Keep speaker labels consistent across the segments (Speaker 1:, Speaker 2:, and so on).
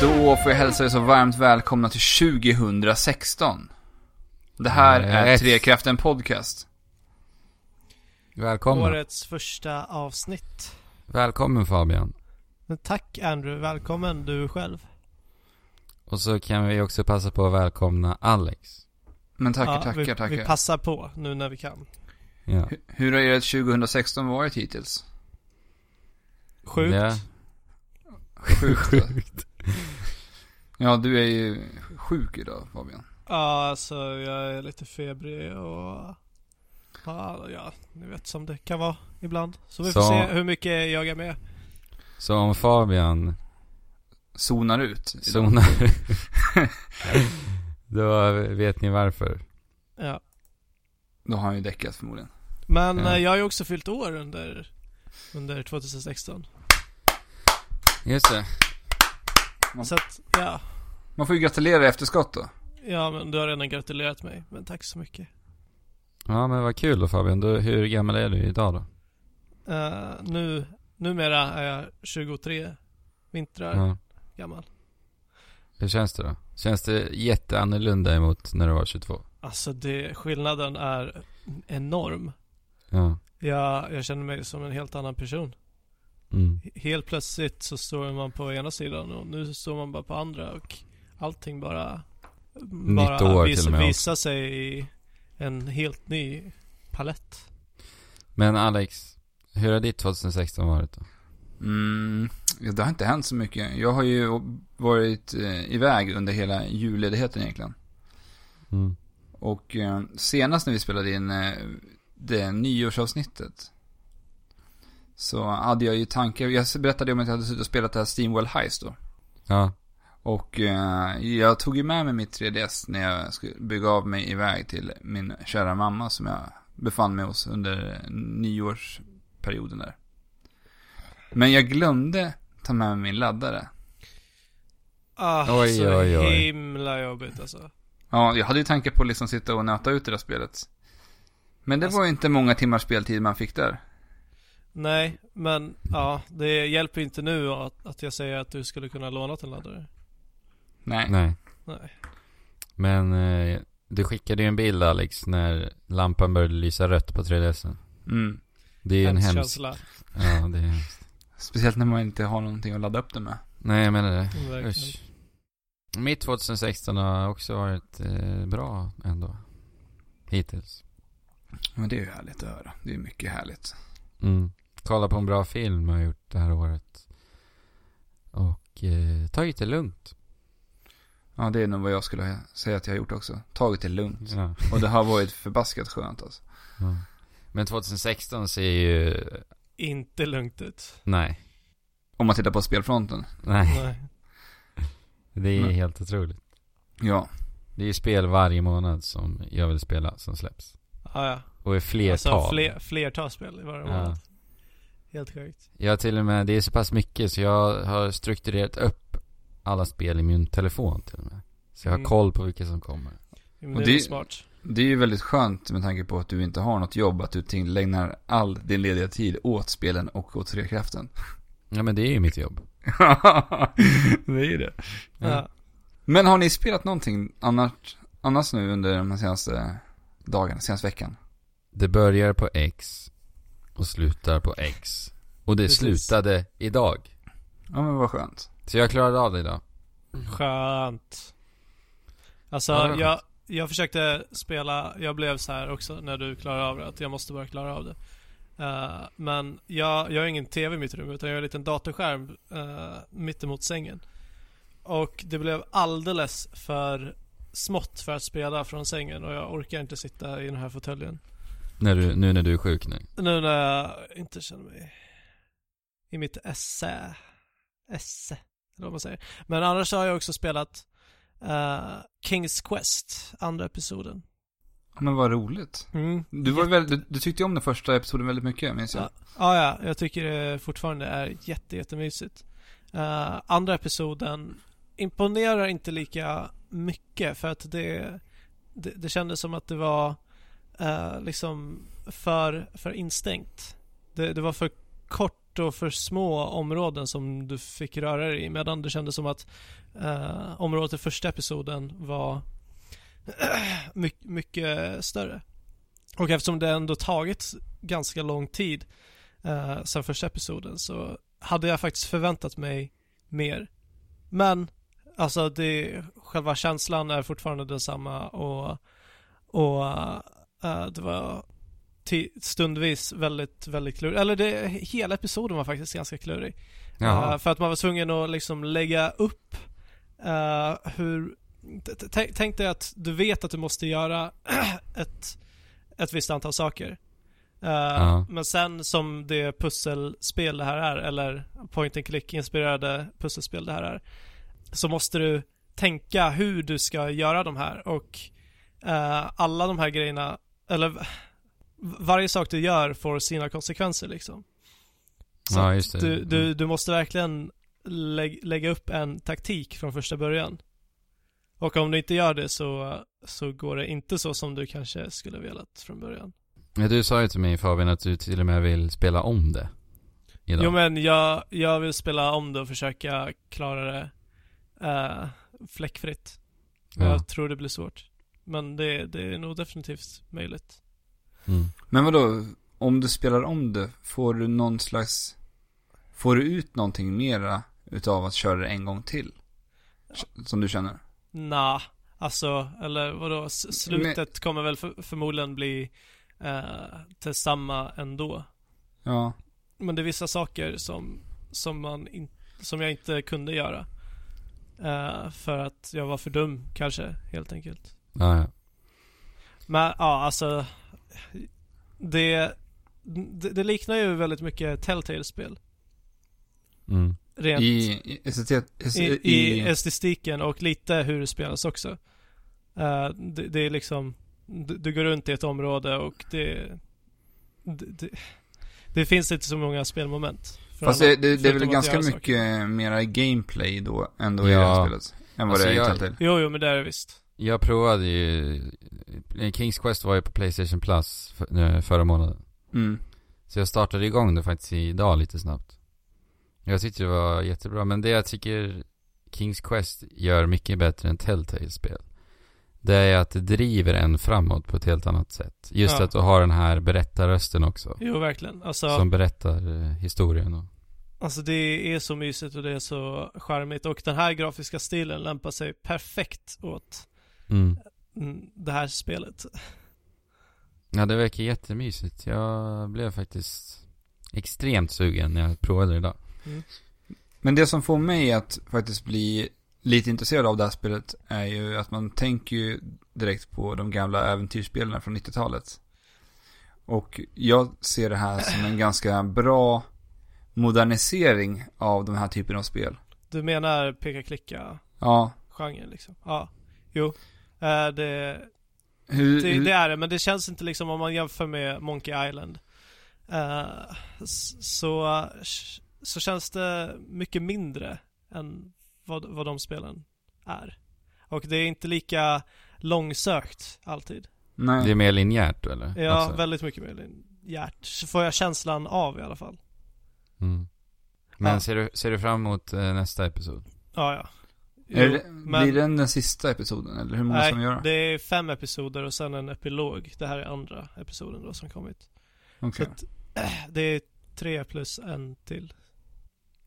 Speaker 1: Då får jag hälsa er så varmt välkomna till 2016. Det här är
Speaker 2: Yes.
Speaker 1: Trekraften Podcast.
Speaker 2: Välkommen.
Speaker 3: Årets första avsnitt.
Speaker 2: Välkommen Fabian.
Speaker 3: Men tack Andrew, välkommen du själv.
Speaker 2: Och så kan vi också passa på att välkomna Alex.
Speaker 1: Men tackar,
Speaker 3: Ja,
Speaker 1: tackar,
Speaker 3: vi,
Speaker 1: tackar.
Speaker 3: Vi passar på nu när vi kan.
Speaker 2: Ja.
Speaker 1: Hu- Hur har ert 2016 varit hittills?
Speaker 3: Sjukt.
Speaker 2: Ja.
Speaker 1: Sjukt. va? ja, du är ju sjuk idag Fabian.
Speaker 3: Ja, alltså jag är lite febrig och... Ja, ja, ni vet som det kan vara ibland. Så vi får
Speaker 2: Så-
Speaker 3: se hur mycket jag är med.
Speaker 2: Så om Fabian
Speaker 1: Sonar ut. idag.
Speaker 2: zonar Då vet ni varför.
Speaker 3: Ja.
Speaker 1: Då har han ju däckat förmodligen.
Speaker 3: Men
Speaker 2: Ja.
Speaker 3: eh, jag har ju också fyllt år under, under 2016.
Speaker 2: Just det.
Speaker 1: Ja.
Speaker 3: Så att, ja.
Speaker 1: Man får ju gratulera i efterskott då.
Speaker 3: Ja, men du har redan gratulerat mig. Men tack så mycket.
Speaker 2: Ja men vad kul då Fabian. Du, hur gammal är du idag då?
Speaker 3: Uh, nu, numera är jag 23 vintrar
Speaker 2: Ja.
Speaker 3: gammal.
Speaker 2: Hur känns det då? Känns det jätteannorlunda emot när du var 22?
Speaker 3: Alltså det, skillnaden är enorm.
Speaker 2: Ja.
Speaker 3: Jag, jag känner mig som en helt annan person.
Speaker 2: Mm.
Speaker 3: H- Helt plötsligt så står man på ena sidan och nu står man bara på andra och allting bara,
Speaker 2: Nytt år
Speaker 3: bara vis,
Speaker 2: till och med.
Speaker 3: visar sig i en helt ny palett.
Speaker 2: Men Alex, hur har ditt 2016 varit då?
Speaker 1: Mm, ja, det har inte hänt så mycket. Jag har ju varit eh, iväg under hela julledigheten egentligen.
Speaker 2: Mm.
Speaker 1: Och eh, senast när vi spelade in eh, det nyårsavsnittet. Så hade jag ju tankar, jag berättade ju om att jag hade suttit och spelat det här Steamwell Heist då.
Speaker 2: Ja.
Speaker 1: Och eh, jag tog ju med mig mitt 3DS när jag skulle bygga av mig iväg till min kära mamma som jag befann mig hos under eh, nyårsperioden där. Men jag glömde ta med mig min laddare.
Speaker 3: Ah,
Speaker 2: Oj,
Speaker 3: så
Speaker 2: oj, oj.
Speaker 3: himla jobbigt alltså.
Speaker 1: Ja, jag hade ju tankar på att liksom sitta och nöta ut det där spelet. Men det
Speaker 3: Alltså-
Speaker 1: var ju inte många timmars speltid man fick där.
Speaker 3: Nej, men ja, det hjälper inte nu att, att jag säger att du skulle kunna låna en laddare.
Speaker 1: Nej.
Speaker 2: Nej.
Speaker 3: Nej.
Speaker 2: Men eh, du skickade ju en bild Alex när lampan började lysa rött på 3DSen.
Speaker 1: Mm.
Speaker 2: Det är ju en
Speaker 3: Hemsk
Speaker 2: hemsk...
Speaker 3: känsla.
Speaker 2: Ja, det är hemskt.
Speaker 1: Speciellt när man inte har någonting att ladda upp det med.
Speaker 2: Nej, jag menar det.
Speaker 3: Verkligen.
Speaker 2: Usch. Mitt 2016 har också varit eh, bra ändå. Hittills.
Speaker 1: Men det är ju härligt att höra. Det är mycket härligt.
Speaker 2: Mm. Kolla på en bra film har jag gjort det här året. Och eh, tagit det lugnt.
Speaker 1: Ja, det är nog vad jag skulle säga att jag har gjort också. Tagit det lugnt.
Speaker 2: Ja.
Speaker 1: Och det har varit förbaskat skönt alltså.
Speaker 2: Ja. Men 2016 ser ju...
Speaker 3: Inte lugnt ut.
Speaker 2: Nej.
Speaker 1: Om man tittar på spelfronten.
Speaker 2: Nej.
Speaker 3: Nej.
Speaker 2: Det är
Speaker 1: Nej.
Speaker 2: helt otroligt.
Speaker 1: Ja.
Speaker 2: Det är ju spel varje månad som jag vill spela som släpps.
Speaker 3: Ah, ja.
Speaker 2: Och i flertal.
Speaker 3: Alltså fler, flertal spel i
Speaker 2: Ja.
Speaker 3: varje månad. Helt sjukt.
Speaker 2: Jag har till och med, det är så pass mycket så jag har strukturerat upp alla spel i min telefon till och med. Så jag har
Speaker 3: Mm.
Speaker 2: koll på vilka som kommer.
Speaker 3: Men
Speaker 1: Och
Speaker 3: det,
Speaker 1: det-
Speaker 3: är ju smart.
Speaker 1: Det är ju väldigt skönt med tanke på att du inte har något jobb. Att du tillägnar all din lediga tid åt spelen och åt trekraften.
Speaker 2: Ja men det är ju mitt jobb.
Speaker 1: det är ju det.
Speaker 2: Ja.
Speaker 3: Ja.
Speaker 1: Men har ni spelat någonting annat, annars nu under de här senaste dagarna, senaste veckan?
Speaker 2: Det börjar på X och slutar på X. Och det
Speaker 3: Precis.
Speaker 2: slutade idag.
Speaker 1: Ja men vad skönt.
Speaker 2: Så jag klarade av det idag.
Speaker 3: Skönt. Alltså
Speaker 2: Ja, det var
Speaker 3: jag, jag försökte spela, jag blev så här också när du klarade av det, att jag måste bara klara av det. Eh, men jag, jag har ingen tv i mitt rum utan jag har en liten datorskärm uh, mittemot sängen. Och det blev alldeles för smått för att spela från sängen och jag orkar inte sitta i den här fåtöljen.
Speaker 2: När du, nu när du är sjuk nu.
Speaker 3: Nu när jag inte känner mig i mitt esse, esse, eller vad man säger. Men annars har jag också spelat eh, Kings Quest, andra episoden.
Speaker 1: Ja, men vad roligt.
Speaker 3: Mm.
Speaker 1: Du, var ju väldigt, du, du tyckte ju om den första episoden väldigt mycket minns jag.
Speaker 3: Ja, ah, ja, jag tycker det fortfarande är jätte, jättemysigt. Eh, andra episoden imponerar inte lika mycket för att det, det, det kändes som att det var eh, liksom för, för instängt. Det, det var för kort och för små områden som du fick röra dig i. Medan det kändes som att eh, området i första episoden var my- mycket större. Och eftersom det ändå tagit ganska lång tid eh, sen första episoden så hade jag faktiskt förväntat mig mer. Men, alltså det, själva känslan är fortfarande densamma och, och eh, det var ti- stundvis väldigt, väldigt klurig. Eller det, hela episoden var faktiskt ganska klurig.
Speaker 2: Jaha.
Speaker 3: Eh, för att man var tvungen att liksom lägga upp eh, hur... t- t- tänk- Tänk dig att du vet att du måste göra ett, ett visst antal saker. Eh,
Speaker 2: Ja.
Speaker 3: Men sen som det pusselspel det här är, eller point and click-inspirerade pusselspel det här är, så måste du tänka hur du ska göra de här och eh, alla de här grejerna, eller v- varje sak du gör får sina konsekvenser liksom. Så
Speaker 2: ja,
Speaker 3: att
Speaker 2: just det.
Speaker 3: du, du, du måste verkligen lä- lägga upp en taktik från första början. Och om du inte gör det så, så går det inte så som du kanske skulle velat från början.
Speaker 2: Ja, du sa ju till mig Fabian att du till och med vill spela om det. Idag.
Speaker 3: Jo men jag, jag vill spela om det och försöka klara det eh, fläckfritt.
Speaker 2: Ja.
Speaker 3: Jag tror det blir svårt. Men det, det är nog definitivt möjligt.
Speaker 2: Mm.
Speaker 1: Men vadå, om du spelar om det, får du någon slags... Får du ut någonting mera utav att köra det en gång till? Som du känner?
Speaker 3: Nah, alltså, eller vadå, S- slutet kommer väl för, förmodligen bli eh, detsamma ändå.
Speaker 1: Ja.
Speaker 3: Men det är vissa saker som, som, man in, som jag inte kunde göra. Eh, för att jag var för dum kanske, helt enkelt.
Speaker 2: Ja, ja.
Speaker 3: Men ja, alltså. Det, det, det liknar ju väldigt mycket Telltale-spel.
Speaker 2: Mm.
Speaker 3: Rent
Speaker 1: I, i, estetet, es-
Speaker 3: i,
Speaker 1: i,
Speaker 3: i estetiken och lite hur det spelas också. Eh, det, det är liksom, du, du går runt i ett område och det, det, det, det finns inte så många spelmoment. För
Speaker 1: Fast
Speaker 3: alla,
Speaker 1: det, det, det är
Speaker 3: förutom
Speaker 1: väl
Speaker 3: att
Speaker 1: ganska
Speaker 3: göra saker.
Speaker 1: mycket mera gameplay då, ändå i
Speaker 2: Ja.
Speaker 1: det här spelet. Än vad
Speaker 2: Alltså,
Speaker 1: det är i
Speaker 2: jag-
Speaker 1: Telltale.
Speaker 3: Jo, jo, men det är det visst.
Speaker 2: Jag provade ju, Kings Quest var ju på Playstation Plus för, nu, förra månaden.
Speaker 1: Mm.
Speaker 2: Så jag startade igång det faktiskt idag lite snabbt. Jag tyckte det var jättebra, men det jag tycker Kings Quest gör mycket bättre än Telltale-spel. Det är att det driver en framåt på ett helt annat sätt. Just
Speaker 3: Ja.
Speaker 2: att du har den här berättarrösten också.
Speaker 3: Jo, verkligen. Alltså,
Speaker 2: Som berättar eh, historien och...
Speaker 3: alltså det är så mysigt och det är så charmigt och den här grafiska stilen lämpar sig perfekt åt
Speaker 2: Mm.
Speaker 3: mm, det här spelet.
Speaker 2: Ja, det verkar jättemysigt. Jag blev faktiskt extremt sugen när jag provade det idag.
Speaker 1: Men det som får mig att faktiskt bli lite intresserad av det här spelet är ju att man tänker ju direkt på de gamla äventyrsspelen från 90-talet. Och jag ser det här som en ganska bra modernisering av den här typen av spel.
Speaker 3: Du menar peka-klicka-genren
Speaker 1: Ja,
Speaker 3: liksom? Ja, jo. Eh, det,
Speaker 1: hur,
Speaker 3: Det,
Speaker 1: hur-
Speaker 3: det är det, men det känns inte liksom om man jämför med Monkey Island. Eh, s- så, så känns det mycket mindre än vad, vad de spelen är. Och det är inte lika långsökt alltid.
Speaker 1: nej.
Speaker 2: Det är mer linjärt eller?
Speaker 3: Ja,
Speaker 2: Alltså,
Speaker 3: väldigt mycket mer hjärt. Så får jag känslan av i alla fall.
Speaker 2: mm. Men
Speaker 3: Ja.
Speaker 2: ser, du, ser du fram emot eh, nästa episod?
Speaker 3: Ja, ja.
Speaker 1: är
Speaker 3: Jo,
Speaker 1: det, Blir den den sista episoden eller hur många
Speaker 3: Nej,
Speaker 1: ska man göra?
Speaker 3: det är fem episoder och sen en epilog. Det här är andra episoden då som kommit.
Speaker 1: Okej.
Speaker 3: Så att, eh, det är tre plus en till.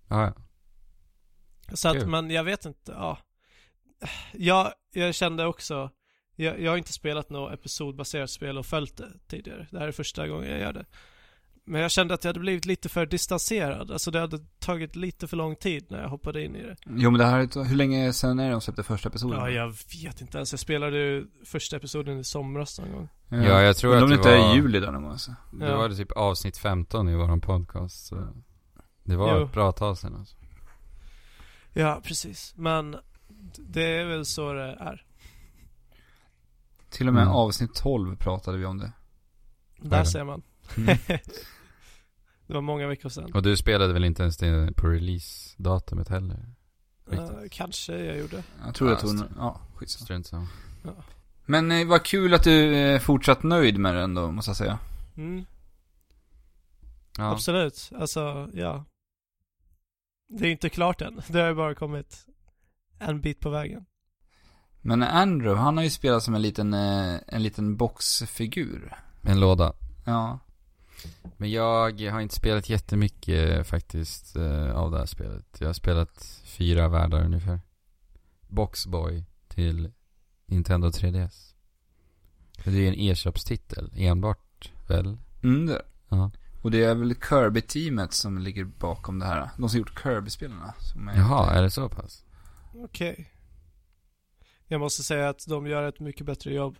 Speaker 2: Ja, ja.
Speaker 3: Så att,
Speaker 2: Kul.
Speaker 3: men jag vet inte, ja. Jag, jag kände också, jag, jag har inte spelat något episodbaserat spel och följt det tidigare. Det här är första gången jag gör det. Men jag kände att jag hade blivit lite för distanserad. Alltså det hade tagit lite för lång tid när jag hoppade in i det.
Speaker 1: Jo men det här är, ett- hur länge sen är det de släppte första episoden?
Speaker 3: Ja, jag vet inte ens. Jag spelade ju första episoden i somras någon gång.
Speaker 2: Ja, jag tror
Speaker 1: Undrar
Speaker 2: att
Speaker 1: om
Speaker 2: det
Speaker 1: inte är
Speaker 2: var-
Speaker 1: i juli där någon gång alltså.
Speaker 2: Det
Speaker 3: Ja.
Speaker 2: var det typ avsnitt 15 i våran podcast. Så det var
Speaker 3: Jo.
Speaker 2: ett bra tag sedan alltså.
Speaker 3: Ja, precis. Men det är väl så det är.
Speaker 1: Till och med
Speaker 2: Mm.
Speaker 1: avsnitt 12 pratade vi om det.
Speaker 3: Där
Speaker 2: Verkligen.
Speaker 3: ser man.
Speaker 1: Mm.
Speaker 3: det var många veckor sedan.
Speaker 2: Och du spelade väl inte ens det på release-datumet heller? Riktigt.
Speaker 3: Eh, kanske jag gjorde.
Speaker 1: Jag tror
Speaker 2: Ja,
Speaker 1: jag tog
Speaker 2: just
Speaker 1: en, ja, skitsamma.
Speaker 2: Strunt samma.
Speaker 1: Men eh, vad kul att du är fortsatt nöjd med den då, måste jag säga.
Speaker 3: Mm.
Speaker 2: Ja.
Speaker 3: Absolut, alltså ja. Det är inte klart än. Det har ju bara kommit en bit på vägen.
Speaker 1: Men Andrew, han har ju spelat som en liten, eh, en liten boxfigur.
Speaker 2: En låda.
Speaker 1: Ja.
Speaker 2: Men jag har inte spelat jättemycket eh, faktiskt eh, av det här spelet. Jag har spelat fyra världar ungefär. Boxboy till Nintendo 3DS. För det är en e-shopstitel enbart väl?
Speaker 1: Mm, det.
Speaker 2: Ja.
Speaker 1: Och det är väl Kirby-teamet som ligger bakom det här. De som gjort Kirby-spelarna. Som är-
Speaker 2: Jaha, är det så pass?
Speaker 3: Okej. Jag måste säga att de gör ett mycket bättre jobb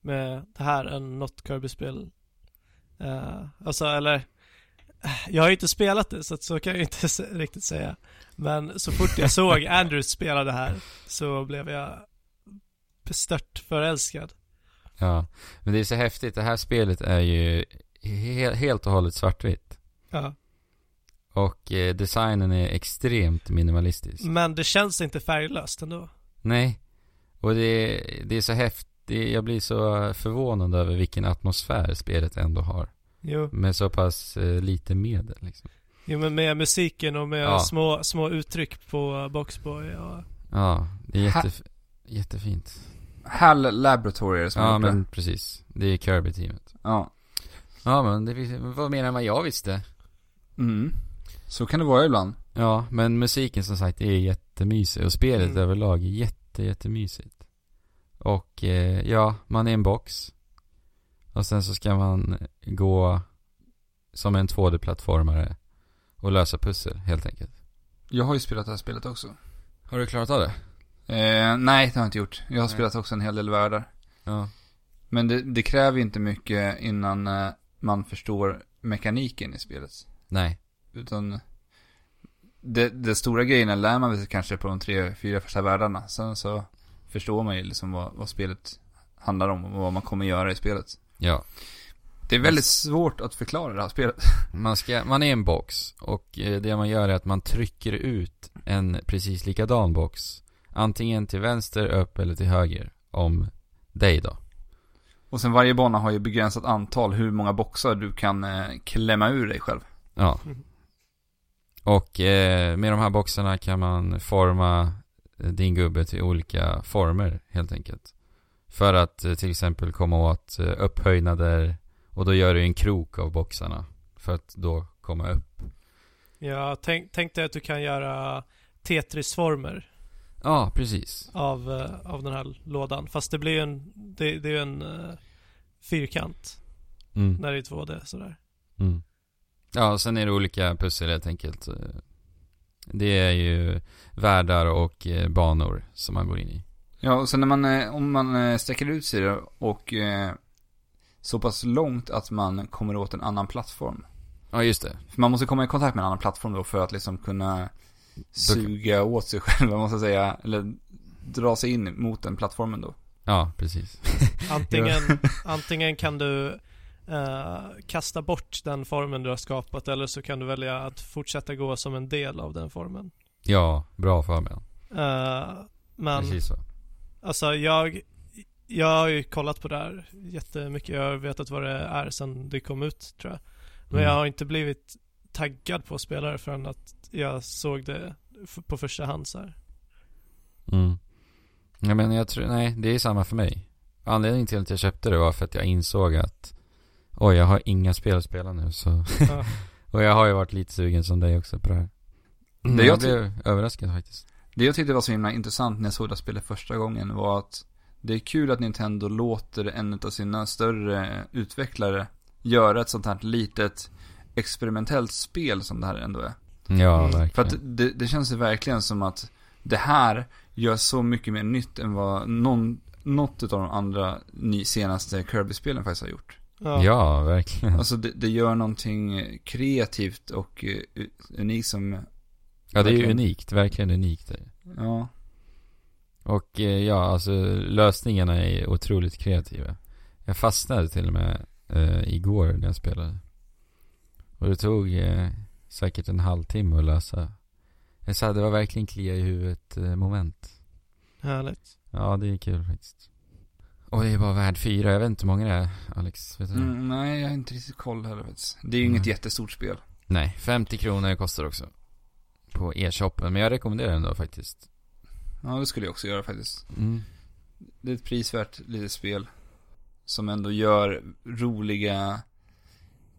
Speaker 3: med det här än något Kirby-spel. Eh, alltså, eller... Jag har ju inte spelat det, så, att, så kan jag inte se- riktigt säga. Men så fort jag såg Andrew spela det här så blev jag bestört förälskad.
Speaker 2: Ja. Men det är så häftigt, det här spelet är ju he- helt och hållet svartvitt.
Speaker 3: Ja.
Speaker 2: Och eh, designen är extremt minimalistisk.
Speaker 3: Men det känns inte färglöst ändå.
Speaker 2: Nej. Och det, det är så häftigt. Jag blir så förvånad över vilken atmosfär spelet ändå har.
Speaker 3: Jo,
Speaker 2: Med så pass eh, lite medel liksom.
Speaker 3: jo men med musiken och med
Speaker 2: Ja.
Speaker 3: små, små uttryck på eh, Boxboy och...
Speaker 2: Ja, det är
Speaker 1: Ha-
Speaker 2: jättef- jättefint.
Speaker 1: HAL Laboratory är det som har
Speaker 2: Ja,
Speaker 1: gjort det.
Speaker 2: men precis. Det är Kirby-teamet.
Speaker 1: Ja.
Speaker 2: Ja, men det, finns- vad menar man? Jag visste.
Speaker 1: Mm. Så kan det vara ibland.
Speaker 2: Ja, men musiken som sagt är jättemysig. Och spelet
Speaker 3: Mm.
Speaker 2: överlag är jätte, jättemysigt. Och eh, ja, man är en box. Och sen så ska man gå som en 2D-plattformare och lösa pussel helt enkelt.
Speaker 1: Jag har ju spelat det här spelet också.
Speaker 2: Har du klarat av det?
Speaker 1: Eh, nej, det har jag inte gjort. Jag har
Speaker 2: Nej.
Speaker 1: spelat också en hel del världar.
Speaker 2: Ja.
Speaker 1: Men det, det kräver ju inte mycket innan eh, man förstår mekaniken i spelet.
Speaker 2: Nej.
Speaker 1: Utan det, det stora grejen lär man sig kanske på de tre, fyra första världarna. Sen så förstår man ju liksom vad, vad spelet handlar om och vad man kommer göra i spelet.
Speaker 2: Ja.
Speaker 1: Det är väldigt svårt att förklara det här spelet.
Speaker 2: Man, ska, man är en box och eh, det man gör är att man trycker ut en precis likadan box. Antingen till vänster, upp eller till höger. Om dig då.
Speaker 1: Och sen varje bana har ju begränsat antal hur många boxar du kan eh, klämma ur dig själv.
Speaker 2: Ja.
Speaker 3: Mhm.
Speaker 2: Och eh, med de här boxarna kan man forma eh, din gubbe till olika former helt enkelt. För att eh, till exempel komma åt eh, upphöjnader och då gör du en krok av boxarna. För att då komma upp.
Speaker 3: Ja, tänk, tänk dig att du kan göra Tetris-former
Speaker 2: Ja, precis.
Speaker 3: av, eh, av den här lådan. Fast det blir ju en, det, det är ju en eh, fyrkant
Speaker 2: Mm.
Speaker 3: när det är 2D sådär.
Speaker 2: Mm. Ja, och sen är det olika pussel helt enkelt. Eh, Det är ju världar och eh, banor som man går in i.
Speaker 1: Ja, och sen när man, eh, om man eh, sträcker ut sig då och eh, så pass långt att man kommer åt en annan plattform.
Speaker 2: Ja, just det.
Speaker 1: För man måste komma i kontakt med en annan plattform då för att liksom kunna suga åt sig själv, man måste säga. Eller dra sig in mot den plattformen då.
Speaker 2: Ja, precis.
Speaker 3: Antingen, antingen kan du eh, kasta bort den formen du har skapat eller så kan du välja att fortsätta gå som en del av den formen.
Speaker 2: Ja, bra förmån.
Speaker 3: Eh, men
Speaker 2: Precis så.
Speaker 3: Alltså jag, jag har ju kollat på det här jättemycket. Jag har vetat vad det är sedan det kom ut tror jag. Men
Speaker 2: Mm.
Speaker 3: jag har inte blivit taggad på spelare förrän att jag såg det f- på första hand så här.
Speaker 2: Mm. Ja, men jag tror, nej, det är samma för mig. Anledningen till att jag köpte det var för att jag insåg att oj, jag har inga spel att spela nu så.
Speaker 3: Ja.
Speaker 2: och jag har ju varit lite sugen som dig också på det här.
Speaker 1: Det
Speaker 2: jag
Speaker 1: Mm. jag
Speaker 2: blev överraskad faktiskt.
Speaker 1: Det jag tyckte var så himla intressant när jag såg det här spelet första gången var att det är kul att Nintendo låter en av sina större utvecklare göra ett sånt här litet experimentellt spel som det här ändå är.
Speaker 2: Ja,
Speaker 3: Mm.
Speaker 2: verkligen.
Speaker 1: För att det, det känns ju verkligen som att det här gör så mycket mer nytt än vad någon, något av de andra ny, senaste Kirby-spelen faktiskt har gjort.
Speaker 3: Ja.
Speaker 2: Ja, verkligen.
Speaker 1: Alltså det, det gör någonting kreativt och eh, u- unikt som,
Speaker 2: Ja, det är ju
Speaker 1: verkligen.
Speaker 2: unikt. Verkligen unikt. Där.
Speaker 1: ja.
Speaker 2: Och eh, ja, alltså lösningarna är otroligt kreativa. Jag fastnade till och med eh, igår när jag spelade. Och det tog eh, säkert en halvtimme att lösa. Jag sa, det var verkligen klia i huvudet eh, moment.
Speaker 3: Härligt.
Speaker 2: Ja, det är kul faktiskt. Och det är bara värd fyra. Jag vet inte hur många det är, Alex. Vet du?
Speaker 1: Mm, nej, jag har inte riktigt koll heller faktiskt. Det är ju
Speaker 2: Nej.
Speaker 1: inget jättestort spel.
Speaker 2: Nej, 50 kronor kostar också. På e-shoppen. Men jag rekommenderar den då faktiskt.
Speaker 1: Ja, det skulle jag också göra faktiskt. Det är ett prisvärt litet spel. Som ändå gör roliga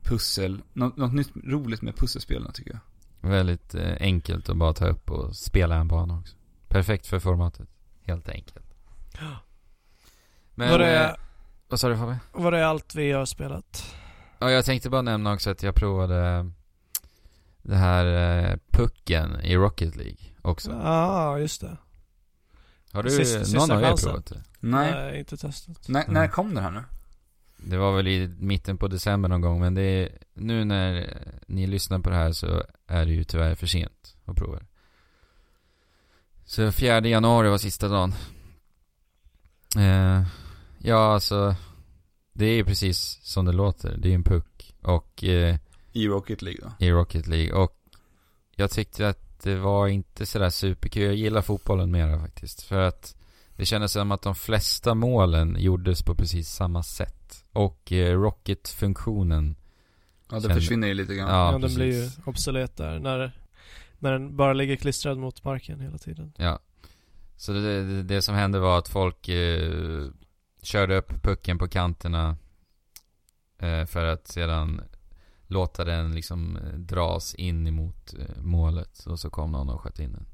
Speaker 1: pussel. Nå- något nytt roligt med pusselspelen tycker jag.
Speaker 2: Väldigt eh, enkelt att bara ta upp och spela en bana också. Perfekt för formatet. Helt enkelt. Men,
Speaker 3: var,
Speaker 2: eh,
Speaker 3: det,
Speaker 2: vad sa du Fabbe?
Speaker 3: var det allt vi har spelat?
Speaker 2: Ja, jag tänkte bara nämna också att jag provade eh, det här eh, pucken i Rocket League också.
Speaker 3: Ja, ah, just det.
Speaker 2: Har du,
Speaker 3: Sista- sista
Speaker 2: någon av er
Speaker 3: chansen.
Speaker 2: provat det?
Speaker 1: Nej.
Speaker 3: Nej, inte testat.
Speaker 1: När,
Speaker 2: Mm.
Speaker 1: när kom det här nu?
Speaker 2: Det var väl i mitten på december någon gång, men det är, nu när ni lyssnar på det här så är det ju tyvärr för sent att prova det. Så 4 januari var sista dagen. Eh, ja, alltså, det är ju precis som det låter. Det är ju en puck och eh,
Speaker 1: I Rocket League då?
Speaker 2: i Rocket League och jag tyckte att det var inte sådär superkul. Jag gillar fotbollen mera faktiskt. För att det kändes som att de flesta målen gjordes på precis samma sätt. Och eh, Rocket-funktionen,
Speaker 1: Ja, det
Speaker 2: Kände-
Speaker 1: försvinner ju lite
Speaker 2: ja,
Speaker 1: grann.
Speaker 3: Ja, den
Speaker 2: precis.
Speaker 3: blir ju obsolet där när, när den bara ligger klistrad mot marken hela tiden.
Speaker 2: Ja. Så det, det, det som hände var att folk eh, körde upp pucken på kanterna eh, för att sedan låta den liksom eh, dras in emot eh, målet. Och så kom någon och sköt in den.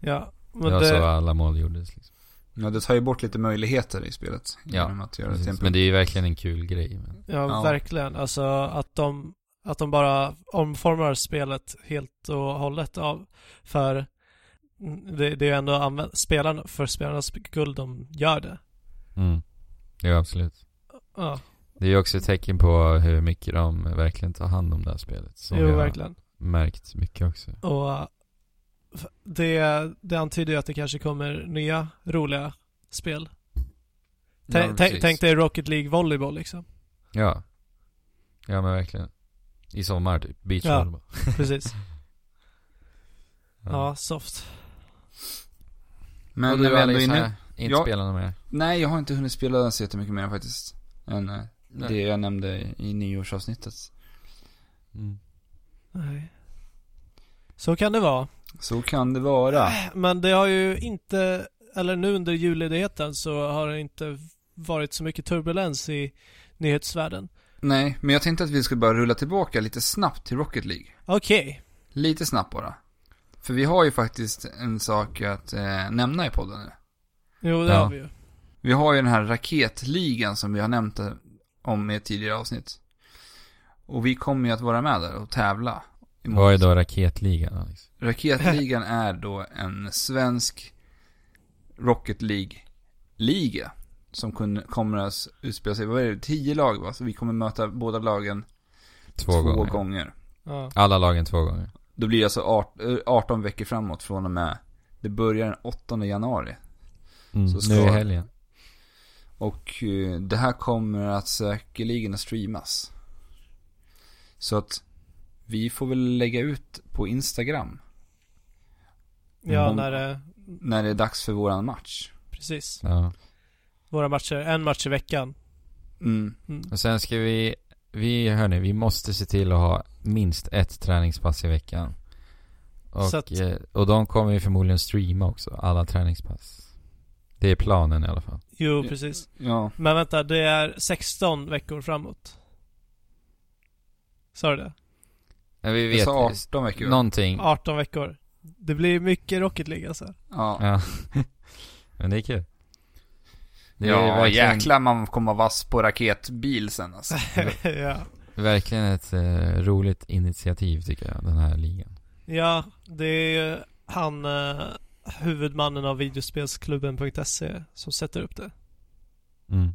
Speaker 3: Ja,
Speaker 2: Det
Speaker 3: men
Speaker 2: var så
Speaker 3: det,
Speaker 2: alla mål gjordes. Liksom.
Speaker 1: Ja, det tar ju bort lite möjligheter i spelet.
Speaker 2: Ja,
Speaker 1: Genom att göra det till en
Speaker 2: Precis, men det är ju verkligen en kul grej. Men...
Speaker 3: ja,
Speaker 1: Ja.
Speaker 3: verkligen. Alltså att de, att de bara omformar spelet helt och hållet av. För det, det är ju ändå använd, spelarna, för spelarnas skull de gör det.
Speaker 2: Mm. Ja, absolut.
Speaker 3: Ja,
Speaker 2: Det är ju också ett tecken på hur mycket de verkligen tar hand om det här spelet. Som
Speaker 3: jo
Speaker 2: vi har
Speaker 3: verkligen.
Speaker 2: märkt mycket också.
Speaker 3: Och eh, f- det, det antyder ju att det kanske kommer nya roliga spel.
Speaker 1: Ja,
Speaker 3: Tänk, tänk,
Speaker 1: precis.
Speaker 3: tänk dig Rocket League Volleyball liksom.
Speaker 2: Ja. Ja, men verkligen. I sommar typ.
Speaker 3: Ja.
Speaker 2: Beachvolleyball.
Speaker 3: Precis.
Speaker 2: Ja.
Speaker 3: Ja, soft.
Speaker 2: Och
Speaker 1: Men när
Speaker 2: du
Speaker 1: vi ändå är
Speaker 2: Alex,
Speaker 1: inne...
Speaker 2: här, inte
Speaker 1: Ja.
Speaker 2: spelar något mer?
Speaker 1: Nej, jag har inte hunnit spela så jättemycket mer faktiskt. Än eh, det jag nämnde i- i nyårsavsnittet.
Speaker 2: Mm.
Speaker 3: Nej. Så kan det vara.
Speaker 1: Så kan det vara.
Speaker 3: Men det har ju inte, eller nu under julledigheten så har det inte varit så mycket turbulens i nyhetsvärlden.
Speaker 1: Nej, men jag tänkte att vi skulle bara rulla tillbaka lite snabbt till Rocket League.
Speaker 3: Okej.
Speaker 1: Lite snabbt bara. För vi har ju faktiskt en sak att eh, nämna i podden nu.
Speaker 3: Jo, det
Speaker 2: Ja.
Speaker 3: har vi ju.
Speaker 1: Vi har ju den här raketligan som vi har nämnt eh, om i ett tidigare avsnitt. Och vi kommer ju att vara med där och tävla. emot-
Speaker 2: Mm. Vad är då raketligan Alex?
Speaker 1: Raketligan är då en svensk Rocket League-liga. Som kun, kommer att utspela sig, vad är det, tio lag va? Så vi kommer möta båda lagen
Speaker 2: Två,
Speaker 1: två,
Speaker 2: gånger.
Speaker 1: gånger.
Speaker 3: Ja.
Speaker 2: Alla lagen två gånger.
Speaker 1: Då blir det alltså art, eh, 18 veckor framåt från och med, det börjar den 8 januari.
Speaker 2: Mm.
Speaker 1: Så ska-
Speaker 2: Nu i helgen.
Speaker 1: Och eh, det här kommer att säkerligen att streamas. Så att vi får väl lägga ut på Instagram
Speaker 3: Ja,
Speaker 1: Mm.
Speaker 3: när det,
Speaker 1: när det är dags för våran match.
Speaker 3: precis.
Speaker 2: Ja.
Speaker 3: Våra matcher, en match i veckan.
Speaker 1: Mm.
Speaker 3: Mm.
Speaker 2: Och sen ska vi, vi hörni, vi måste se till att ha minst ett träningspass i veckan. Och,
Speaker 3: Så att-
Speaker 2: eh, och de kommer ju förmodligen streama också, alla träningspass. Det är planen i alla fall.
Speaker 3: Jo,
Speaker 1: Ja.
Speaker 3: precis.
Speaker 1: Ja,
Speaker 3: Men vänta, det är 16 veckor framåt. Sa du det?
Speaker 2: Men vi
Speaker 1: jag
Speaker 2: vet
Speaker 1: sa 18 veckor.
Speaker 2: någonting.
Speaker 1: Mm.
Speaker 3: 18 veckor. Det blir mycket Rocket League alltså.
Speaker 1: Ja,
Speaker 2: Ja. Men det är kul. Det är
Speaker 1: ja
Speaker 2: verkligen,
Speaker 1: jäklar man kommer vara vass på raketbil sen alltså.
Speaker 3: ja.
Speaker 2: verkligen ett eh, roligt initiativ tycker jag, den här ligan.
Speaker 3: ja, det är ju han eh, huvudmannen av videospelsklubben.se som sätter upp det.
Speaker 2: Mm.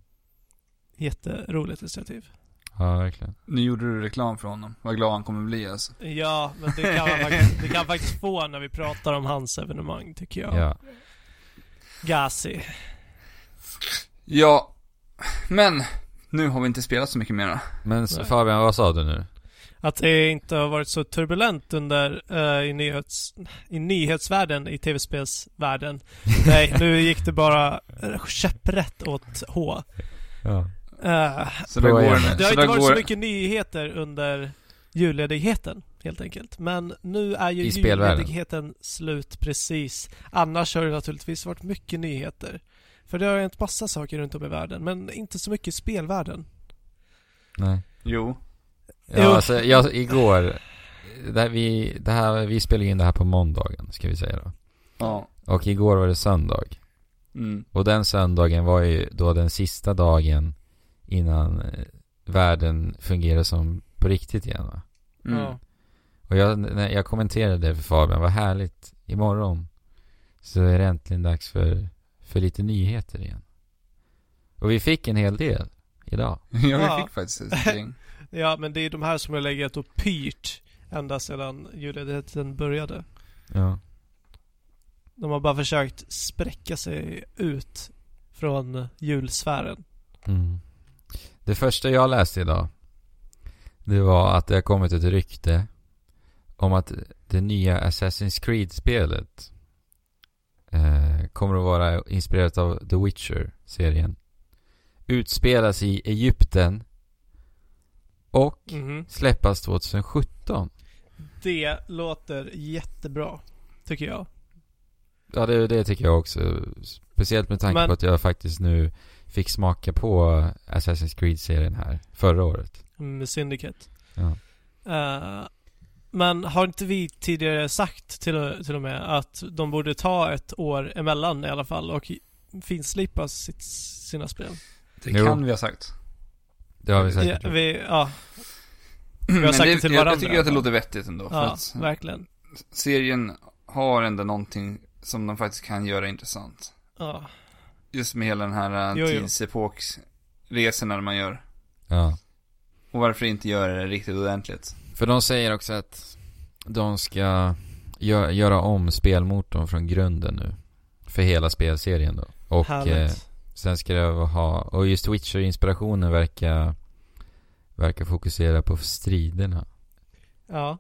Speaker 3: Jätteroligt initiativ.
Speaker 2: Ja, verkligen.
Speaker 1: Nu gjorde du reklam för honom. Vad glad han kommer bli alltså.
Speaker 3: Ja, men det kan, man faktiskt, det kan faktiskt få när vi pratar om hans evenemang tycker jag.
Speaker 2: Ja.
Speaker 3: Gazi.
Speaker 1: Ja, men nu har vi inte spelat så mycket mera.
Speaker 2: Men s-
Speaker 3: Nej.
Speaker 2: Fabian, vad sa du nu?
Speaker 3: Att det inte har varit så turbulent under eh, i, nyhets, i nyhetsvärlden, i tv-spelsvärlden. Nej, nu gick det bara uh, käpprätt åt H.
Speaker 2: Ja.
Speaker 3: Eh,
Speaker 1: Så där
Speaker 2: Bra
Speaker 1: går,
Speaker 2: igen.
Speaker 3: det har
Speaker 1: så
Speaker 3: inte
Speaker 1: där
Speaker 3: varit så
Speaker 1: går,
Speaker 3: mycket nyheter under julledigheten helt enkelt. Men nu är ju
Speaker 2: I spelvärlden.
Speaker 3: julledigheten slut precis. Annars har det naturligtvis varit mycket nyheter. För det har hänt massa saker runt om i världen, men inte så mycket i spelvärlden.
Speaker 2: Nej.
Speaker 1: jo.
Speaker 2: Ja,
Speaker 3: Jo.
Speaker 2: alltså, jag, igår, det här, vi, det här, vi spelar in det här på måndagen, ska vi säga då.
Speaker 1: Ja.
Speaker 2: Och igår var det söndag.
Speaker 1: Mm.
Speaker 2: Och den söndagen var ju då den sista dagen innan eh, världen fungerade som på riktigt igen va?
Speaker 1: Mm.
Speaker 3: Ja.
Speaker 2: Och jag, när jag kommenterade det för Fabian, vad härligt, imorgon så är det äntligen dags för, för lite nyheter igen. Och vi fick en hel del idag.
Speaker 1: Ja, vi
Speaker 3: Ja.
Speaker 1: fick faktiskt ett gäng.
Speaker 3: ja, men det är de här som har legat och pyrt ända sedan julledigheten började.
Speaker 2: Ja.
Speaker 3: De har bara försökt spräcka sig ut från julsfären.
Speaker 2: Mm. Det första jag läste idag, det var att det har kommit ett rykte om att det nya Assassin's Creed-spelet eh, kommer att vara inspirerat av The Witcher-serien. Utspelas i Egypten och
Speaker 3: Mhm.
Speaker 2: släppas 2017.
Speaker 3: Det låter jättebra, tycker jag.
Speaker 2: Ja, det, det tycker jag också. Speciellt med tanke
Speaker 3: Men-
Speaker 2: på att jag faktiskt nu fick smaka på Assassin's Creed-serien här förra året.
Speaker 3: med Syndicate.
Speaker 2: Ja.
Speaker 3: Mm, Eh, men har inte vi tidigare sagt till, till och med att de borde ta ett år emellan i alla fall och finslipa sitt, sina spel?
Speaker 1: Det
Speaker 2: Jo.
Speaker 1: kan vi ha sagt.
Speaker 2: Det har vi
Speaker 3: Ja,
Speaker 2: säkert gjort.
Speaker 3: vi, ja,
Speaker 1: Men
Speaker 3: sagt det
Speaker 1: det,
Speaker 3: till
Speaker 1: jag,
Speaker 3: varandra
Speaker 1: jag tycker
Speaker 3: i
Speaker 1: att det
Speaker 3: alla
Speaker 1: låter vettigt ändå. För
Speaker 3: ja
Speaker 1: att
Speaker 3: verkligen.
Speaker 1: serien har ändå någonting som de faktiskt kan göra intressant.
Speaker 3: Ja,
Speaker 1: Just med hela den här
Speaker 3: Jo,
Speaker 1: eh,
Speaker 3: jo.
Speaker 1: tidsepoksresorna man gör.
Speaker 2: Ja.
Speaker 1: Och varför inte göra det riktigt ordentligt?
Speaker 2: För de säger också att de ska gö- göra om spelmotorn från grunden nu. För hela spelserien då. Och eh,
Speaker 3: härligt.
Speaker 2: sen ska det ha, och just Witcher-inspirationen verkar, verkar fokusera på striderna.
Speaker 3: Ja,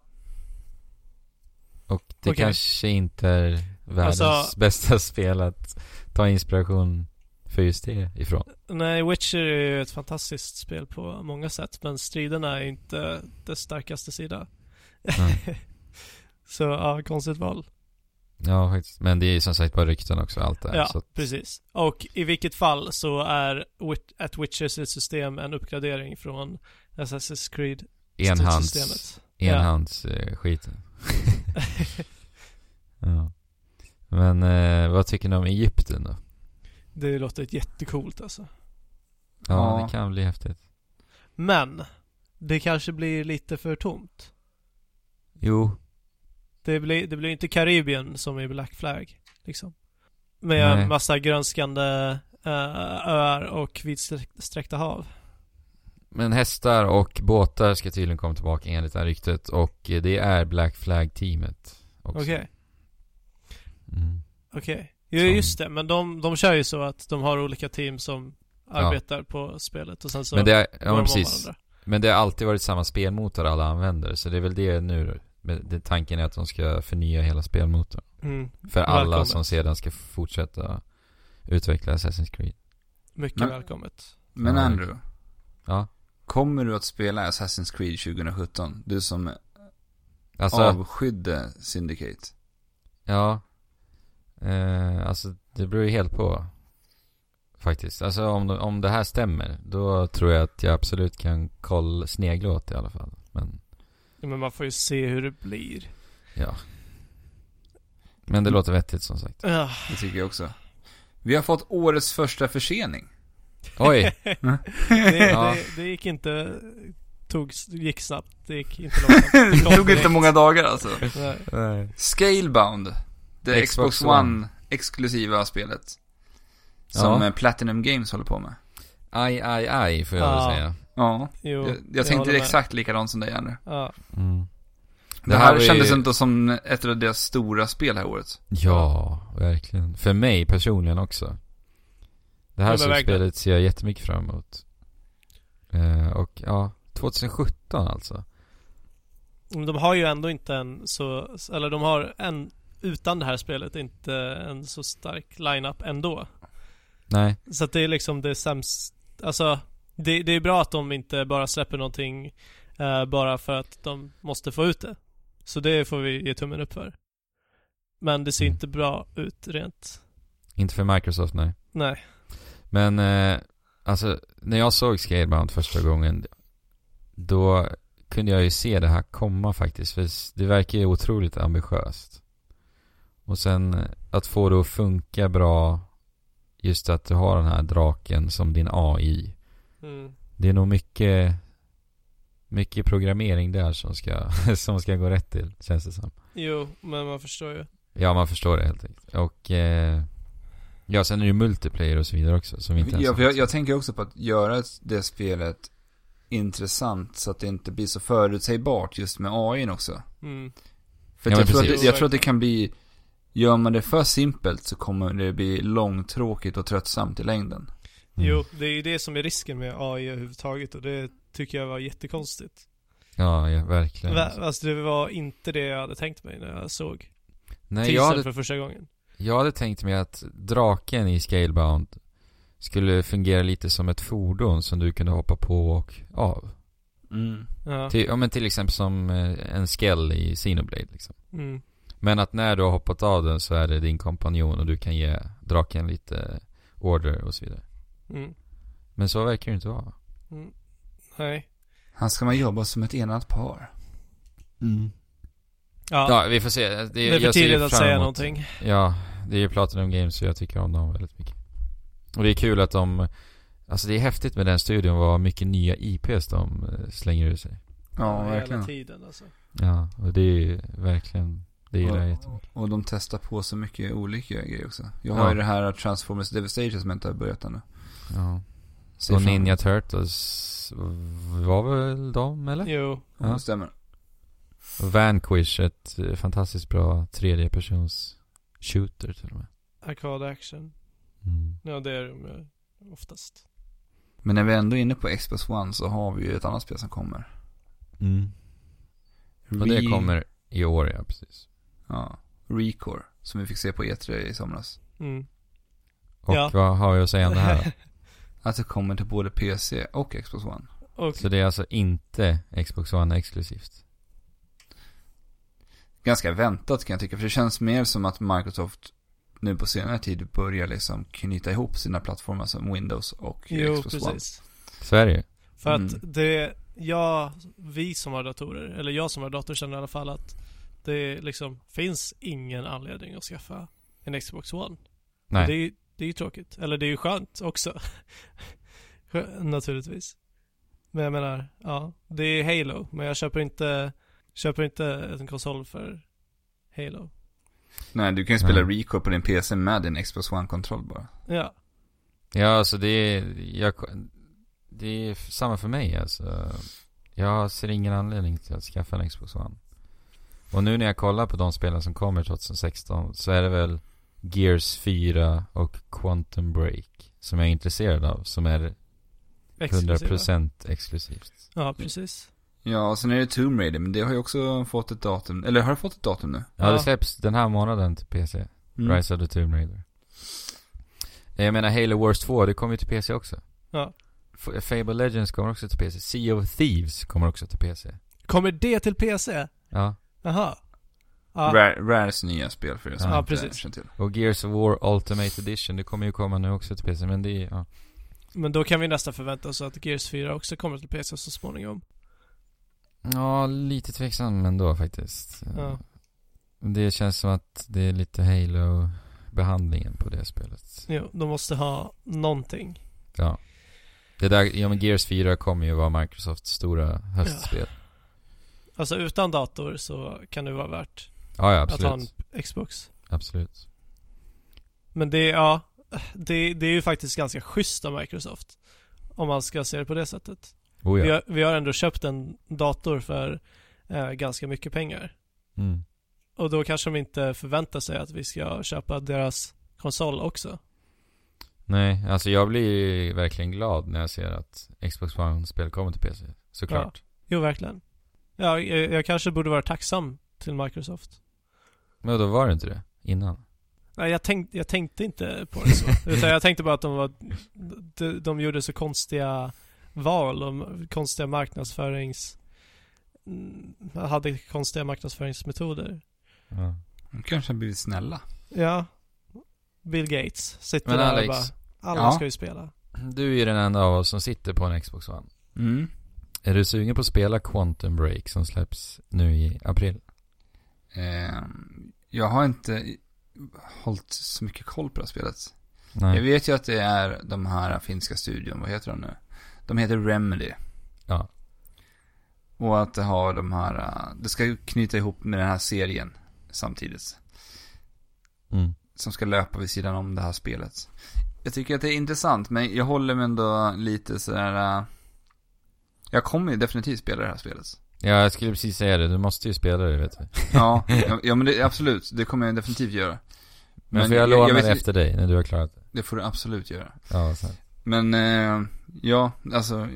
Speaker 2: Och det
Speaker 3: Okej.
Speaker 2: kanske inte är världens
Speaker 3: Alltså-
Speaker 2: bästa spel att ta inspiration för just det ifrån.
Speaker 3: nej Witcher är ju ett fantastiskt spel på många sätt men striderna är inte dess starkaste sida.
Speaker 2: Mm.
Speaker 3: Så ja, konstigt val.
Speaker 2: Ja, faktiskt. Men det är ju som sagt bara rykten också, allt det här.
Speaker 3: Ja,
Speaker 2: så att,
Speaker 3: precis. Och i vilket fall så är Wit- ett Witchers system en uppgradering från Assassin's Creed
Speaker 2: enhands,
Speaker 3: systemet.
Speaker 2: enhands eh, skiten. Ja. Men eh, vad tycker ni om Egypten då?
Speaker 3: Det låter jättecoolt alltså.
Speaker 2: Ja,
Speaker 1: Ja.
Speaker 2: det kan bli häftigt.
Speaker 3: Men, det kanske blir lite för tomt.
Speaker 2: Jo,
Speaker 3: Det blir, det blir inte Karibien som i Black Flag, liksom. Med
Speaker 2: Nej.
Speaker 3: massa grönskande eh, öar och vidsträckta hav.
Speaker 2: men hästar och båtar ska tydligen komma tillbaka enligt det här ryktet och eh, det är Black Flag-teamet också.
Speaker 3: Okej,
Speaker 2: Mm.
Speaker 3: okej. Jo,
Speaker 2: Som-
Speaker 3: just det. Men de, de kör ju så att de har olika team som arbetar på spelet och sen så
Speaker 2: Men det är, ja
Speaker 3: går de
Speaker 2: men
Speaker 3: om
Speaker 2: precis.
Speaker 3: varandra.
Speaker 2: Men det har alltid varit samma spelmotor alla använder, så det är väl det nu då. Men det, tanken är att de ska förnya hela spelmotorn.
Speaker 3: Mm.
Speaker 2: För alla
Speaker 3: Välkommen.
Speaker 2: som sedan ska fortsätta utveckla Assassin's Creed.
Speaker 3: Mycket
Speaker 1: Men-
Speaker 3: välkommet.
Speaker 1: Men
Speaker 2: Ja,
Speaker 1: Andrew.
Speaker 2: Ja.
Speaker 1: Kommer du att spela Assassin's Creed 2017? Du som
Speaker 2: Alltså,
Speaker 1: avskydde Syndicate.
Speaker 2: Ja. Eh, alltså det beror ju helt på. Faktiskt. Alltså om, om det här stämmer, då tror jag att jag absolut kan koll, snegla åt det i alla fall. Men,
Speaker 3: Ja, men man får ju se hur det blir.
Speaker 2: men det
Speaker 3: Mm.
Speaker 2: låter vettigt som sagt.
Speaker 3: Ah,
Speaker 1: Det tycker jag också. Vi har fått årets första försening.
Speaker 2: Oj!
Speaker 3: det,
Speaker 2: Ja.
Speaker 3: det, det gick inte... Tog, gick snabbt. Det gick inte långsamt.
Speaker 1: Det
Speaker 3: kom
Speaker 1: tog inte
Speaker 3: direkt.
Speaker 1: många dagar alltså.
Speaker 3: Nej.
Speaker 1: Scalebound. Det Xbox,
Speaker 2: Xbox
Speaker 1: One exklusiva spelet. Som
Speaker 2: Ja.
Speaker 1: eh, Platinum Games håller på med.
Speaker 2: Aj, aj, aj får jag
Speaker 3: Ja.
Speaker 2: väl säga.
Speaker 1: Ja,
Speaker 3: Jo,
Speaker 1: jag,
Speaker 3: jag
Speaker 1: jag
Speaker 3: håller
Speaker 1: tänkte
Speaker 3: med.
Speaker 1: exakt likadant som dig Andrew.
Speaker 3: ja.
Speaker 2: Mm.
Speaker 1: Det här,
Speaker 2: var ju-
Speaker 1: kändes inte som ett av deras stora spel här året.
Speaker 2: Ja, verkligen. För mig personligen också. Det här
Speaker 3: Ja, men verkligen.
Speaker 2: slutspelet ser jag jättemycket fram emot. Eh, och ja, 2017 alltså.
Speaker 3: De har ju ändå inte en så, eller de har en, utan det här spelet, inte en så stark line-up ändå.
Speaker 2: Nej.
Speaker 3: Så att det är liksom det sämst, alltså det, det är bra att de inte bara släpper någonting eh, bara för att de måste få ut det. Så det får vi ge tummen upp för. Men det ser
Speaker 2: Mm.
Speaker 3: inte bra ut rent,
Speaker 2: Inte för Microsoft, nej.
Speaker 3: nej.
Speaker 2: Men eh, alltså, när jag såg Scalebound första gången, då kunde jag ju se det här komma faktiskt. För det verkar ju otroligt ambitiöst. Och sen eh, att få det att funka bra, just att du har den här draken som din AI.
Speaker 3: Mm.
Speaker 2: Det är nog mycket, mycket programmering där som ska, som ska gå rätt till, känns det som.
Speaker 3: Jo, men man förstår ju.
Speaker 2: Ja, man förstår det helt enkelt. Och eh, ja, sen är det ju multiplayer och så vidare också som vi inte ens
Speaker 1: Ja, för jag, jag tänker också på att göra det spelet intressant så att det inte blir så förutsägbart just med AI också.
Speaker 3: Mm.
Speaker 1: För
Speaker 2: Ja,
Speaker 1: att jag,
Speaker 2: men
Speaker 1: tror att det,
Speaker 3: precis.
Speaker 1: jag tror att det kan bli, gör man det för simpelt så kommer det bli långtråkigt och tröttsamt i längden.
Speaker 2: Mm.
Speaker 3: Jo, det är ju det som är risken med AI överhuvudtaget och det tycker jag var jättekonstigt.
Speaker 2: Ja, ja verkligen.
Speaker 3: Va- Alltså det var inte det jag hade tänkt mig när jag såg
Speaker 2: Nej, jag
Speaker 3: teasern
Speaker 2: hade,
Speaker 3: för första gången.
Speaker 2: jag hade tänkt mig att draken i Scalebound skulle fungera lite som ett fordon som du kunde hoppa på och av.
Speaker 1: Mm.
Speaker 3: Ja.
Speaker 2: Till, ja, men till exempel som eh, en skell i Xenoblade liksom.
Speaker 3: Mm.
Speaker 2: Men att när du har hoppat av den så är det din kompanjon och du kan ge draken lite order och så vidare.
Speaker 3: Mm.
Speaker 2: Men så verkar det inte vara.
Speaker 3: Mm. Nej.
Speaker 1: Han ska man jobba som ett enat par.
Speaker 3: Ja,
Speaker 2: Ja, vi får se. Det,
Speaker 3: det är för
Speaker 2: jag ser
Speaker 3: tidigt att
Speaker 2: fram
Speaker 3: säga
Speaker 2: emot-
Speaker 3: någonting.
Speaker 2: Ja, det är ju Platinum Games så jag tycker om dem väldigt mycket. Och det är kul att de, alltså det är häftigt med den studion vad mycket nya IPs de eh, slänger ur sig.
Speaker 1: Ja,
Speaker 3: hela
Speaker 1: verkligen.
Speaker 3: tiden alltså.
Speaker 2: Ja, och det är ju verkligen, det gillar jag jättemycket.
Speaker 1: Och de testar på så mycket olika grejer också. Jag har
Speaker 2: Ja.
Speaker 1: ju det här Transformers Devastation som jag inte har börjat ännu.
Speaker 2: Ja.
Speaker 1: Ser
Speaker 2: Så
Speaker 1: fram-
Speaker 2: Ninja Turtles var väl de eller?
Speaker 3: Jo.
Speaker 1: Ja,
Speaker 2: Ja.
Speaker 1: det stämmer.
Speaker 2: Vanquish, ett eh, fantastiskt bra 3D-persons shooter till och med.
Speaker 3: Arcade action.
Speaker 2: Mm.
Speaker 3: Ja, det är de ju oftast.
Speaker 1: Men när vi ändå är inne på Xbox One så har vi ju ett annat spel som kommer.
Speaker 2: Mm. Och det
Speaker 1: Re-
Speaker 2: kommer i år ja, precis.
Speaker 1: Ja, Recore. Som vi fick se på E3 i somras.
Speaker 3: Mm.
Speaker 2: Och
Speaker 3: Ja.
Speaker 2: vad har vi att säga om det här då?
Speaker 1: Att Alltså, det kommer till både PC och Xbox One.
Speaker 3: Och
Speaker 2: Så det är alltså inte Xbox One exklusivt?
Speaker 1: Ganska väntat kan jag tycka. För det känns mer som att Microsoft nu på senare tid börjar liksom knyta ihop sina plattformar som Windows och
Speaker 3: jo,
Speaker 1: Xbox One.
Speaker 3: precis.
Speaker 2: Så är det ju.
Speaker 3: För
Speaker 1: Mm.
Speaker 3: att det, jag, vi som har datorer, eller jag som har dator känner i alla fall att det liksom finns ingen anledning att skaffa en Xbox One.
Speaker 2: Nej.
Speaker 3: Det är ju det är ju tråkigt. Eller det är ju skönt också. Skö- Naturligtvis. Men jag menar, ja. Det är Halo, men jag köper inte, köper inte en konsol för Halo.
Speaker 1: Nej, du kan ju spela
Speaker 2: Nej.
Speaker 1: Recore på din PC med din Xbox One-kontroll bara.
Speaker 3: Ja.
Speaker 2: Ja, alltså det är, jag, det är f- samma för mig alltså. Jag ser ingen anledning till att skaffa en Xbox One. Och nu när jag kollar på de spelen som kommer 2016 så är det väl Gears 4 och Quantum Break som jag är intresserad av. Som är
Speaker 3: exklusiva.
Speaker 2: 100% exklusivt.
Speaker 3: Ja, precis.
Speaker 1: Ja, och sen är det Tomb Raider, men det har ju också fått ett datum. Eller har det fått ett datum nu?
Speaker 2: Ja, det
Speaker 3: Ja.
Speaker 2: släpps den här månaden till PC.
Speaker 1: Mm.
Speaker 2: Rise of the Tomb Raider. Eh, Jag menar Halo Wars 2, det kommer ju till PC också.
Speaker 3: Ja.
Speaker 2: F- Fable Legends kommer också till PC. Sea of Thieves kommer också till PC.
Speaker 3: Kommer det till PC?
Speaker 2: Ja.
Speaker 3: Jaha. Ja.
Speaker 1: Rare, Rares nya spel för er som
Speaker 2: Ja,
Speaker 1: inte
Speaker 3: precis.
Speaker 1: känner till.
Speaker 2: Och Gears of War Ultimate Edition, det kommer ju komma nu också till PC. Men det är, ja.
Speaker 3: Men då kan vi nästan förvänta oss att Gears 4 också kommer till PC så småningom.
Speaker 2: Ja, lite tveksam ändå faktiskt.
Speaker 3: Ja.
Speaker 2: Det känns som att det är lite Halo-behandlingen på det spelet.
Speaker 3: Jo, de måste ha någonting.
Speaker 2: Ja. Det där, ja men Gears 4 kommer ju vara Microsofts stora höstspel.
Speaker 3: Alltså utan dator så kan det vara värt
Speaker 2: Ja, ja
Speaker 3: att ha
Speaker 2: absolut.
Speaker 3: en Xbox.
Speaker 2: Absolut.
Speaker 3: Men det, ja, det, det är ju faktiskt ganska schysst av Microsoft. Om man ska se det på det sättet.
Speaker 2: Oh,
Speaker 3: Vi,
Speaker 2: ja.
Speaker 3: har, vi har ändå köpt en dator för eh, ganska mycket pengar.
Speaker 2: Mm.
Speaker 3: Och då kanske de inte förväntar sig att vi ska köpa deras konsol också.
Speaker 2: Nej, alltså jag blir ju verkligen glad när jag ser att Xbox One-spel kommer till PC. Såklart.
Speaker 3: Jo, verkligen. Ja, jag, jag kanske borde vara tacksam till Microsoft.
Speaker 2: Men då var det inte det innan?
Speaker 3: Nej, jag, tänk, jag tänkte inte på det så. Utan jag tänkte bara att de, var, de, de gjorde så konstiga val och konstiga marknadsförings... mm, Hade konstiga marknadsföringsmetoder.
Speaker 2: Ja.
Speaker 1: De kanske har blivit snälla.
Speaker 3: Ja. Bill Gates sitter
Speaker 2: Men
Speaker 3: där
Speaker 2: Alex,
Speaker 3: och bara, alla
Speaker 1: ja.
Speaker 3: ska ju spela.
Speaker 2: du är ju den enda av oss som sitter på en Xbox One.
Speaker 1: Mm.
Speaker 2: Är du sugen på att spela Quantum Break som släpps nu i april?
Speaker 1: Eh, jag har inte i- hållit så mycket koll på det här spelet.
Speaker 2: Nej.
Speaker 1: Jag vet ju att det är de här finska studion, vad heter de nu? De heter Remedy.
Speaker 2: Ja.
Speaker 1: Och att det har de här, eh, det ska ju knyta ihop med den här serien samtidigt.
Speaker 2: Mm.
Speaker 1: Som ska löpa vid sidan om det här spelet. Jag tycker att det är intressant, men jag håller mig ändå lite sådär... eh, Jag kommer ju definitivt spela det här spelet.
Speaker 2: Ja, jag skulle precis säga det. Du måste ju spela det, vet vi.
Speaker 1: Ja, ja, ja men det, absolut. Det kommer jag definitivt göra.
Speaker 2: Men, får jag låna
Speaker 1: vet-
Speaker 2: det efter dig när du har klarat det?
Speaker 1: Det får du absolut göra.
Speaker 2: Ja, sen.
Speaker 1: Men, eh, ja, alltså.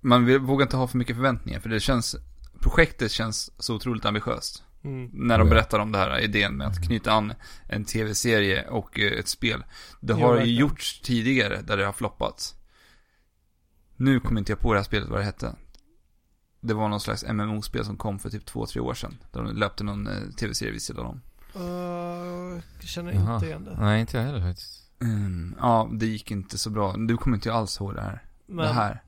Speaker 1: Man vill, vågar inte ha för mycket förväntningar. För det känns, projektet känns så otroligt ambitiöst.
Speaker 3: Mm.
Speaker 1: När de
Speaker 2: Oh ja.
Speaker 1: berättar om det här, idén med att knyta an en tv-serie och eh, ett spel. Det
Speaker 3: Ja,
Speaker 1: har ju
Speaker 3: verkligen.
Speaker 1: gjorts tidigare där det har floppat. Nu kommer inte jag på det här spelet vad det hette. Det var någon slags MMO-spel som kom för typ två, tre år sedan. Där de löpte någon eh, tv-serie vid sidan om.
Speaker 3: Uh, jag känner
Speaker 2: Jaha.
Speaker 3: inte igen det.
Speaker 2: Nej, inte jag heller faktiskt.
Speaker 1: Mm, ja, det gick inte så bra. Du kommer inte alls ihåg det här.
Speaker 3: Men
Speaker 1: det här.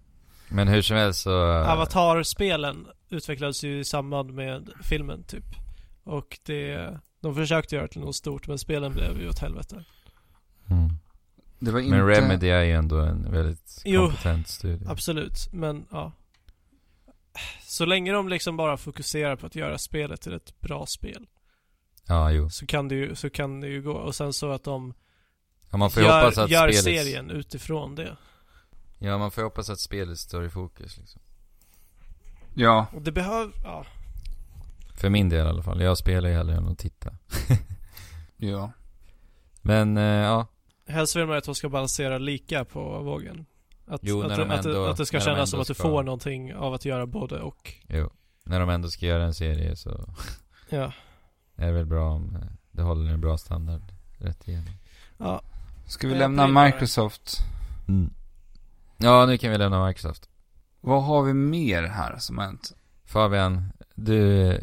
Speaker 2: Men hur som helst så... eh,
Speaker 3: Avatar-spelen utvecklades ju i samband med filmen typ. Och det, de försökte göra det till något stort men spelen blev ju åt helvete.
Speaker 2: Mm.
Speaker 1: Det var inte...
Speaker 2: Men Remedy är ju ändå en väldigt
Speaker 3: Jo.
Speaker 2: kompetent studio.
Speaker 3: Absolut, men ja. Så länge de liksom bara fokuserar på att göra spelet till ett bra spel
Speaker 2: Ja, jo.
Speaker 3: så kan det ju, så kan det ju gå. Och sen så att de
Speaker 2: Ja, man får ju hoppas
Speaker 3: gör,
Speaker 2: att
Speaker 3: gör
Speaker 2: spelet...
Speaker 3: serien utifrån det.
Speaker 2: Ja, man får ju hoppas att spelet står i fokus liksom.
Speaker 1: Ja,
Speaker 3: Och det behöver, ja.
Speaker 2: För min del i alla fall. Jag spelar ju hellre än att titta.
Speaker 1: ja.
Speaker 2: Men, eh, ja.
Speaker 3: Helst vill man ju att de ska balansera lika på vågen. Att,
Speaker 2: Jo,
Speaker 3: att,
Speaker 2: när de
Speaker 3: att,
Speaker 2: ändå-
Speaker 3: att det ska
Speaker 2: när de ändå
Speaker 3: kännas som att du
Speaker 2: ska-
Speaker 3: får någonting av att göra både och.
Speaker 2: Jo. När de ändå ska göra en serie så
Speaker 3: Ja.
Speaker 2: är det väl bra om eh, det håller en bra standard rätt igenom.
Speaker 3: Ja,
Speaker 1: Ska vi
Speaker 3: Jag
Speaker 1: lämna
Speaker 3: blir bara-
Speaker 1: Microsoft?
Speaker 2: Ja, nu kan vi lämna Microsoft.
Speaker 1: Vad har vi mer här som har hänt?
Speaker 2: Fabian, du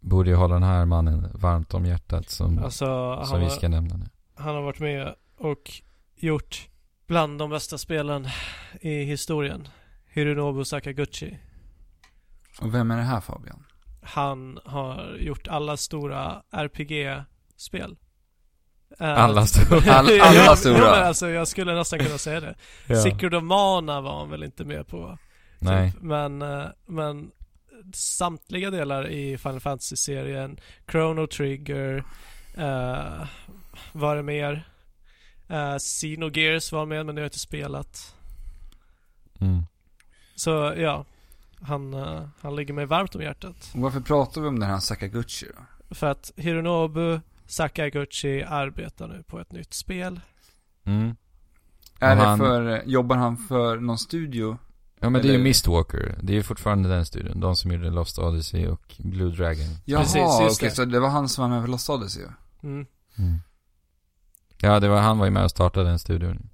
Speaker 2: borde ju hålla den här mannen varmt om hjärtat som,
Speaker 3: alltså
Speaker 2: Mm. som
Speaker 3: han,
Speaker 2: vi ska nämna nu.
Speaker 3: har, han har varit med och gjort bland de bästa spelen i historien. Hironobu Sakaguchi.
Speaker 1: Och vem är det här Fabian?
Speaker 3: Han har gjort alla stora RPG-spel. Eh,
Speaker 2: Alla stora.
Speaker 1: all- alla
Speaker 3: Ja,
Speaker 1: stora.
Speaker 3: Ja, men alltså, jag skulle nästan kunna säga det. Secret of Mana var han väl inte med på. typ.
Speaker 2: Nej.
Speaker 3: Men, eh, men samtliga delar i Final Fantasy-serien, Chrono Trigger, eh, var det mer? Eh, Xenogears var med men det har jag inte spelat.
Speaker 2: Mm.
Speaker 3: Så ja, han, eh, han ligger mig varmt om hjärtat.
Speaker 1: Och varför pratar vi om den här Sakaguchi då?
Speaker 3: För att Hironobu Sakaguchi arbetar nu på ett nytt spel.
Speaker 2: Mm.
Speaker 1: Är
Speaker 2: han-
Speaker 1: det för, jobbar han för någon studio?
Speaker 2: Ja men det är ju
Speaker 1: Eller-
Speaker 2: Mistwalker. Det är ju fortfarande den studion. De som gjorde Lost Odyssey och Blue Dragon.
Speaker 1: Jaha,
Speaker 3: Precis,
Speaker 1: okej,
Speaker 3: just det.
Speaker 1: så det var han som var med för Lost Odyssey ju.
Speaker 3: Mm.
Speaker 2: Ja, det var, han var ju med och startade den studion.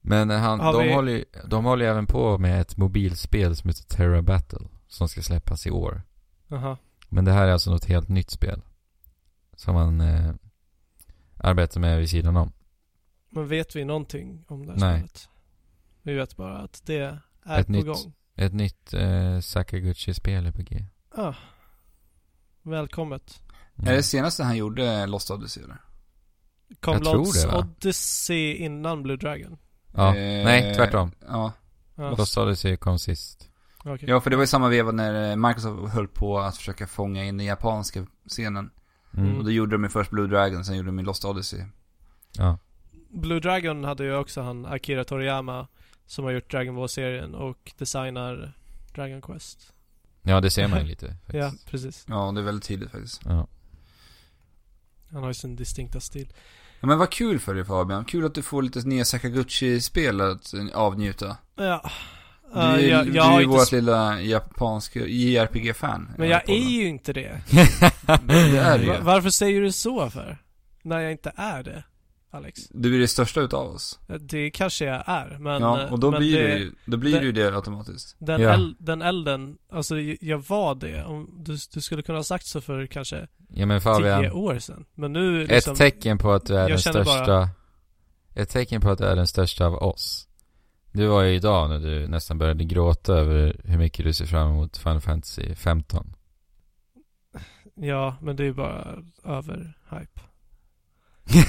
Speaker 2: Men eh, han,
Speaker 3: Har
Speaker 2: de,
Speaker 3: vi-
Speaker 2: håller ju, de håller ju även på med ett mobilspel som heter Terra Battle. Som ska släppas i år.
Speaker 3: Aha.
Speaker 2: Men det här är alltså något helt nytt spel. Som man eh, arbetar med vid sidan om.
Speaker 3: Men vet vi någonting om det här
Speaker 2: Nej.
Speaker 3: spelet? Vi vet bara att det är
Speaker 2: Ett
Speaker 3: på
Speaker 2: nytt-
Speaker 3: gång.
Speaker 2: Ett nytt eh, Sakaguchi-spel är på G.
Speaker 3: Ah. Välkommet.
Speaker 2: Mm.
Speaker 1: Är det senaste han gjorde Lost Odyssey eller?
Speaker 3: Kom
Speaker 2: Jag tror
Speaker 3: Lost
Speaker 2: det, va?
Speaker 3: Odyssey innan Blue Dragon?
Speaker 2: Ja,
Speaker 1: Eh,
Speaker 2: nej tvärtom.
Speaker 1: Ja.
Speaker 3: Ja,
Speaker 2: Lost Odyssey kom sist.
Speaker 3: okej.
Speaker 1: ja, för det var ju samma veva när eh, Microsoft höll på att försöka fånga in den japanska scenen.
Speaker 2: Mm.
Speaker 1: Och då gjorde de ju först Blue Dragon, sen gjorde de ju Lost Odyssey.
Speaker 2: Ja.
Speaker 3: Blue Dragon hade ju också han Akira Toriyama som har gjort Dragon Ball-serien och designar Dragon Quest.
Speaker 2: ja, det ser man ju lite faktiskt.
Speaker 3: Ja, precis.
Speaker 1: Ja, det är väldigt tydligt faktiskt.
Speaker 2: Ja.
Speaker 3: Han har ju sin distinkta stil.
Speaker 1: Ja, men vad kul för dig Fabian. Kul att du får lite nya Sakaguchi-spel att eh, avnjuta.
Speaker 3: Ja,
Speaker 1: Du,
Speaker 3: Eh,
Speaker 1: är-
Speaker 3: jag,
Speaker 1: du
Speaker 3: jag har
Speaker 1: är ju
Speaker 3: inte
Speaker 1: vårt
Speaker 3: sp-
Speaker 1: lilla japanska JRPG-fan.
Speaker 3: men jag är ju inte det.
Speaker 1: Det är du
Speaker 3: Va-
Speaker 1: ju.
Speaker 3: Varför säger du så för? När jag inte är det, Alex.
Speaker 1: Du är det största utav oss.
Speaker 3: Det kanske jag är, men... eh,
Speaker 1: ja, och då
Speaker 3: men
Speaker 1: blir,
Speaker 3: det-
Speaker 1: det, ju, då blir
Speaker 3: det-
Speaker 1: det ju det automatiskt.
Speaker 3: Den,
Speaker 2: Ja.
Speaker 3: eld, den elden, alltså j- jag var det. Om du, du skulle kunna ha sagt så för kanske
Speaker 2: Ja men
Speaker 3: tio
Speaker 2: Fabian,
Speaker 3: år sedan. Men nu liksom,
Speaker 2: ett tecken på att du är
Speaker 3: Jag
Speaker 2: den
Speaker 3: känner bara-
Speaker 2: största Ett tecken på att du är den största av oss Du var ju idag när du nästan började gråta över hur mycket du ser fram emot Final Fantasy 15
Speaker 3: ja men det är ju bara över hype.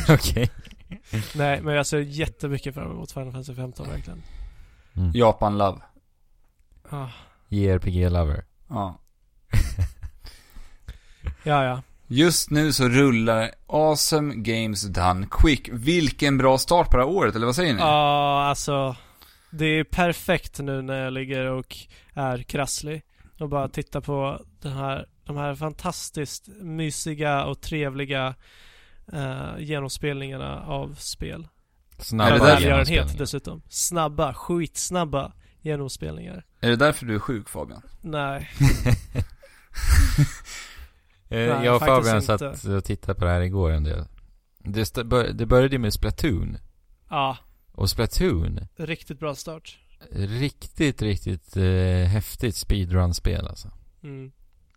Speaker 2: Okej
Speaker 3: Nej men jag ser jättemycket fram emot Final Fantasy 15 verkligen.
Speaker 2: mm.
Speaker 1: Japan-love.
Speaker 3: Ah,
Speaker 2: JRPG-lover
Speaker 1: Ja.
Speaker 3: ja ja.
Speaker 1: Just nu så rullar Awesome Games Done Quick. Vilken bra start på det här året, eller vad säger ni?
Speaker 3: Ja alltså. Det är perfekt nu när jag ligger och är krasslig. Och bara tittar på den här, de här fantastiskt mysiga och trevliga eh, genomspelningarna av spel.
Speaker 1: Ja,
Speaker 2: Snabba
Speaker 1: det
Speaker 3: Med
Speaker 1: är därför-
Speaker 3: välgörenhet
Speaker 2: genomspelningar.
Speaker 3: dessutom. Snabba, skitsnabba genomspelningar.
Speaker 1: Är det därför du är sjuk Fabian?
Speaker 3: Nej,
Speaker 2: Eh,
Speaker 3: Nej,
Speaker 2: jag och
Speaker 3: faktiskt
Speaker 2: Fabian
Speaker 3: inte.
Speaker 2: satt och tittade på det här igår en del. Det, st- bör- det började ju med Splatoon.
Speaker 3: ja,
Speaker 2: Och Splatoon,
Speaker 3: riktigt bra start.
Speaker 2: riktigt, riktigt eh, häftigt speedrun-spel alltså.
Speaker 3: Mm.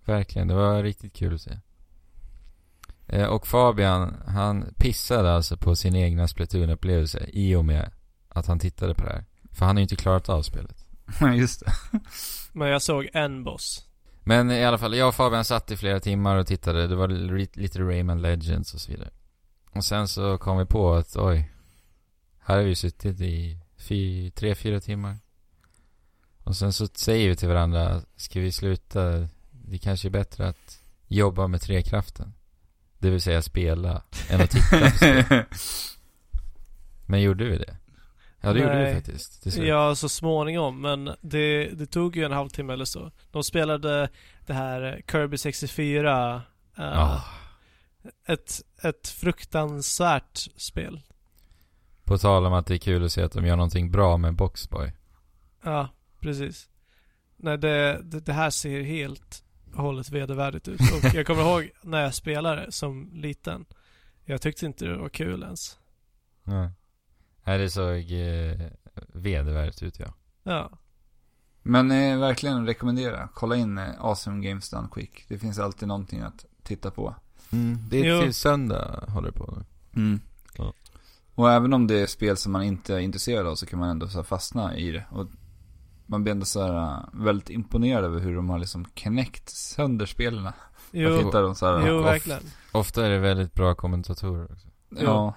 Speaker 2: Verkligen, det var riktigt kul att se. Eh, och Fabian, han pissade alltså på sin egna Splatoon-upplevelse i och med att han tittade på det här. För han har ju inte klarat av spelet.
Speaker 1: Just det.
Speaker 3: Men jag såg en boss.
Speaker 2: Men i alla fall, jag och Fabian satt i flera timmar och tittade. Det var li- lite Rayman Legends och så vidare. Och sen så kom vi på att oj, här har vi suttit i fy, tre, fyra timmar. Och sen så säger vi till varandra, ska vi sluta? Det kanske är bättre att jobba med trekraften. Det vill säga spela, än att titta på spel. Men gjorde vi det? Ja, det gjorde
Speaker 3: Nej.
Speaker 2: vi faktiskt. till slut.
Speaker 3: Ja, så småningom. Men det, det tog ju en halvtimme eller så. De spelade det här Kirby 64. eh,
Speaker 2: Ah.
Speaker 3: ett, ett fruktansvärt spel.
Speaker 2: På tal om att det är kul att se att de gör någonting bra med Boxboy.
Speaker 3: Ja, precis. Nej, det, det, det här ser helt och hållet vedervärdigt ut. Och jag kommer ihåg när jag spelade som liten. Jag tyckte inte det var kul ens.
Speaker 2: Nej. Nej, det såg eh, vedervärdigt ut ja.
Speaker 3: Ja,
Speaker 1: Men eh, verkligen rekommendera. Kolla in eh, Awesome Games Done Quick. Det finns alltid någonting att titta på.
Speaker 2: Mm. Det typ
Speaker 3: är Jo. till
Speaker 2: söndag håller det på nu. Ja.
Speaker 1: Mm. Och även om det är spel som man inte är intresserad av så kan man ändå så här fastna i det. Och man blir ändå så här eh, väldigt imponerad över hur de har liksom knäckt sönder spelen. Att
Speaker 3: jo,
Speaker 1: hitta dem så här. äh,
Speaker 3: jo
Speaker 2: off.
Speaker 3: verkligen.
Speaker 2: Ofta är det väldigt bra kommentatorer också.
Speaker 1: Ja.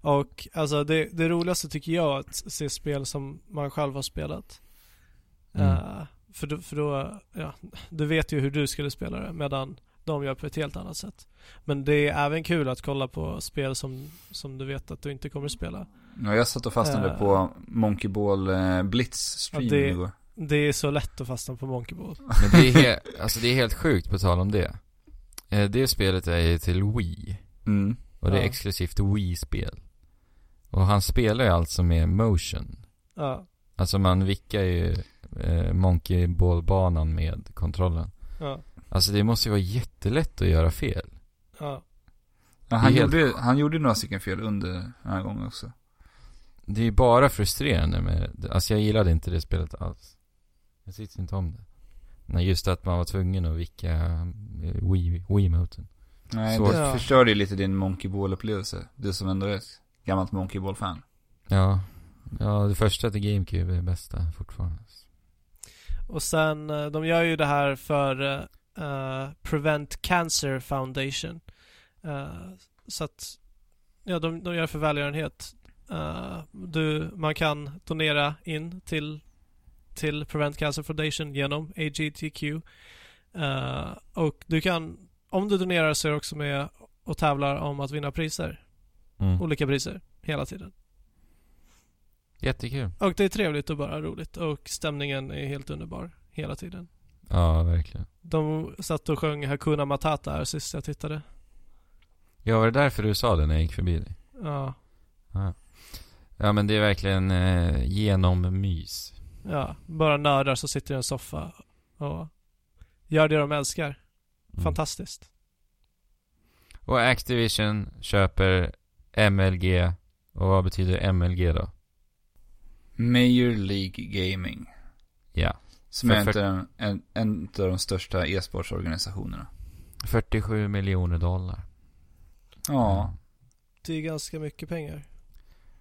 Speaker 3: Och alltså det, det roligaste tycker jag är att se spel som man själv har spelat.
Speaker 2: Mm.
Speaker 3: Eh, för då, för då ja, du vet ju hur du skulle spela det medan de gör på ett helt annat sätt. Men det är även kul att kolla på spel som, som du vet att du inte kommer spela.
Speaker 1: ja. Jag satt och fastnade
Speaker 3: Eh.
Speaker 1: på Monkey Ball eh, Blitz stream
Speaker 3: Ja, det-
Speaker 1: igår.
Speaker 3: Det är så lätt att fastna på Monkey Ball.
Speaker 2: Men det är, he- alltså, det är helt sjukt på tal om det. Eh, det spelet är ju till Wii.
Speaker 1: Mm.
Speaker 2: Och det är
Speaker 3: Ja.
Speaker 2: exklusivt Wii-spel. Och han spelar ju alltså med motion.
Speaker 3: Ja,
Speaker 2: Alltså man vickar ju eh, Monkey Ball-banan med kontrollen.
Speaker 3: ja,
Speaker 2: Alltså det måste ju vara jättelätt att göra fel.
Speaker 3: ja.
Speaker 1: Ja, han,
Speaker 2: Det är helt-
Speaker 1: gjorde, han gjorde några stycken fel under den här gången också.
Speaker 2: Det är ju bara frustrerande med Alltså jag gillade inte det spelet alls. Jag tyckte inte om det. Nej, just att man var tvungen att vicka eh, Wii- Wiimoten.
Speaker 1: Nej,
Speaker 2: Svårt.
Speaker 1: det
Speaker 3: Ja.
Speaker 1: förstörde ju lite din Monkey Ball-upplevelse. Du som ändå är ett gammalt Monkey Ball-fan.
Speaker 2: Ja. Ja, det första till GameCube är bästa fortfarande.
Speaker 3: Och sen, eh, de gör ju det här för eh, eh, Prevent Cancer Foundation. Eh, så att, ja de, de gör det för välgörenhet. Eh, du, man kan donera in till, till Prevent Cancer Foundation genom AGTQ. Eh, och du kan, om du donerar så är du också med och tävlar om att vinna priser.
Speaker 2: Mm.
Speaker 3: Olika priser, hela tiden.
Speaker 2: Jättekul.
Speaker 3: Och det är trevligt och bara roligt och stämningen är helt underbar hela tiden.
Speaker 2: Ja, verkligen.
Speaker 3: De satt och sjöng Hakuna Matata här sist jag tittade.
Speaker 2: Ja, var det därför du sa det när jag gick förbi dig?
Speaker 3: Ja.
Speaker 2: Ja, men det är verkligen eh, genommys.
Speaker 3: Ja, bara nördar som sitter i en soffa och gör det de älskar. Mm.
Speaker 2: Mm.
Speaker 3: Fantastiskt.
Speaker 2: Och Activision köper MLG. Och vad betyder MLG då?
Speaker 1: Major League Gaming.
Speaker 2: Ja.
Speaker 1: Som
Speaker 2: För-
Speaker 1: är
Speaker 2: för-
Speaker 1: inte en, en, en av de största e-sportsorganisationerna.
Speaker 2: 47 miljoner dollar.
Speaker 1: Ja.
Speaker 3: Det är ganska mycket pengar.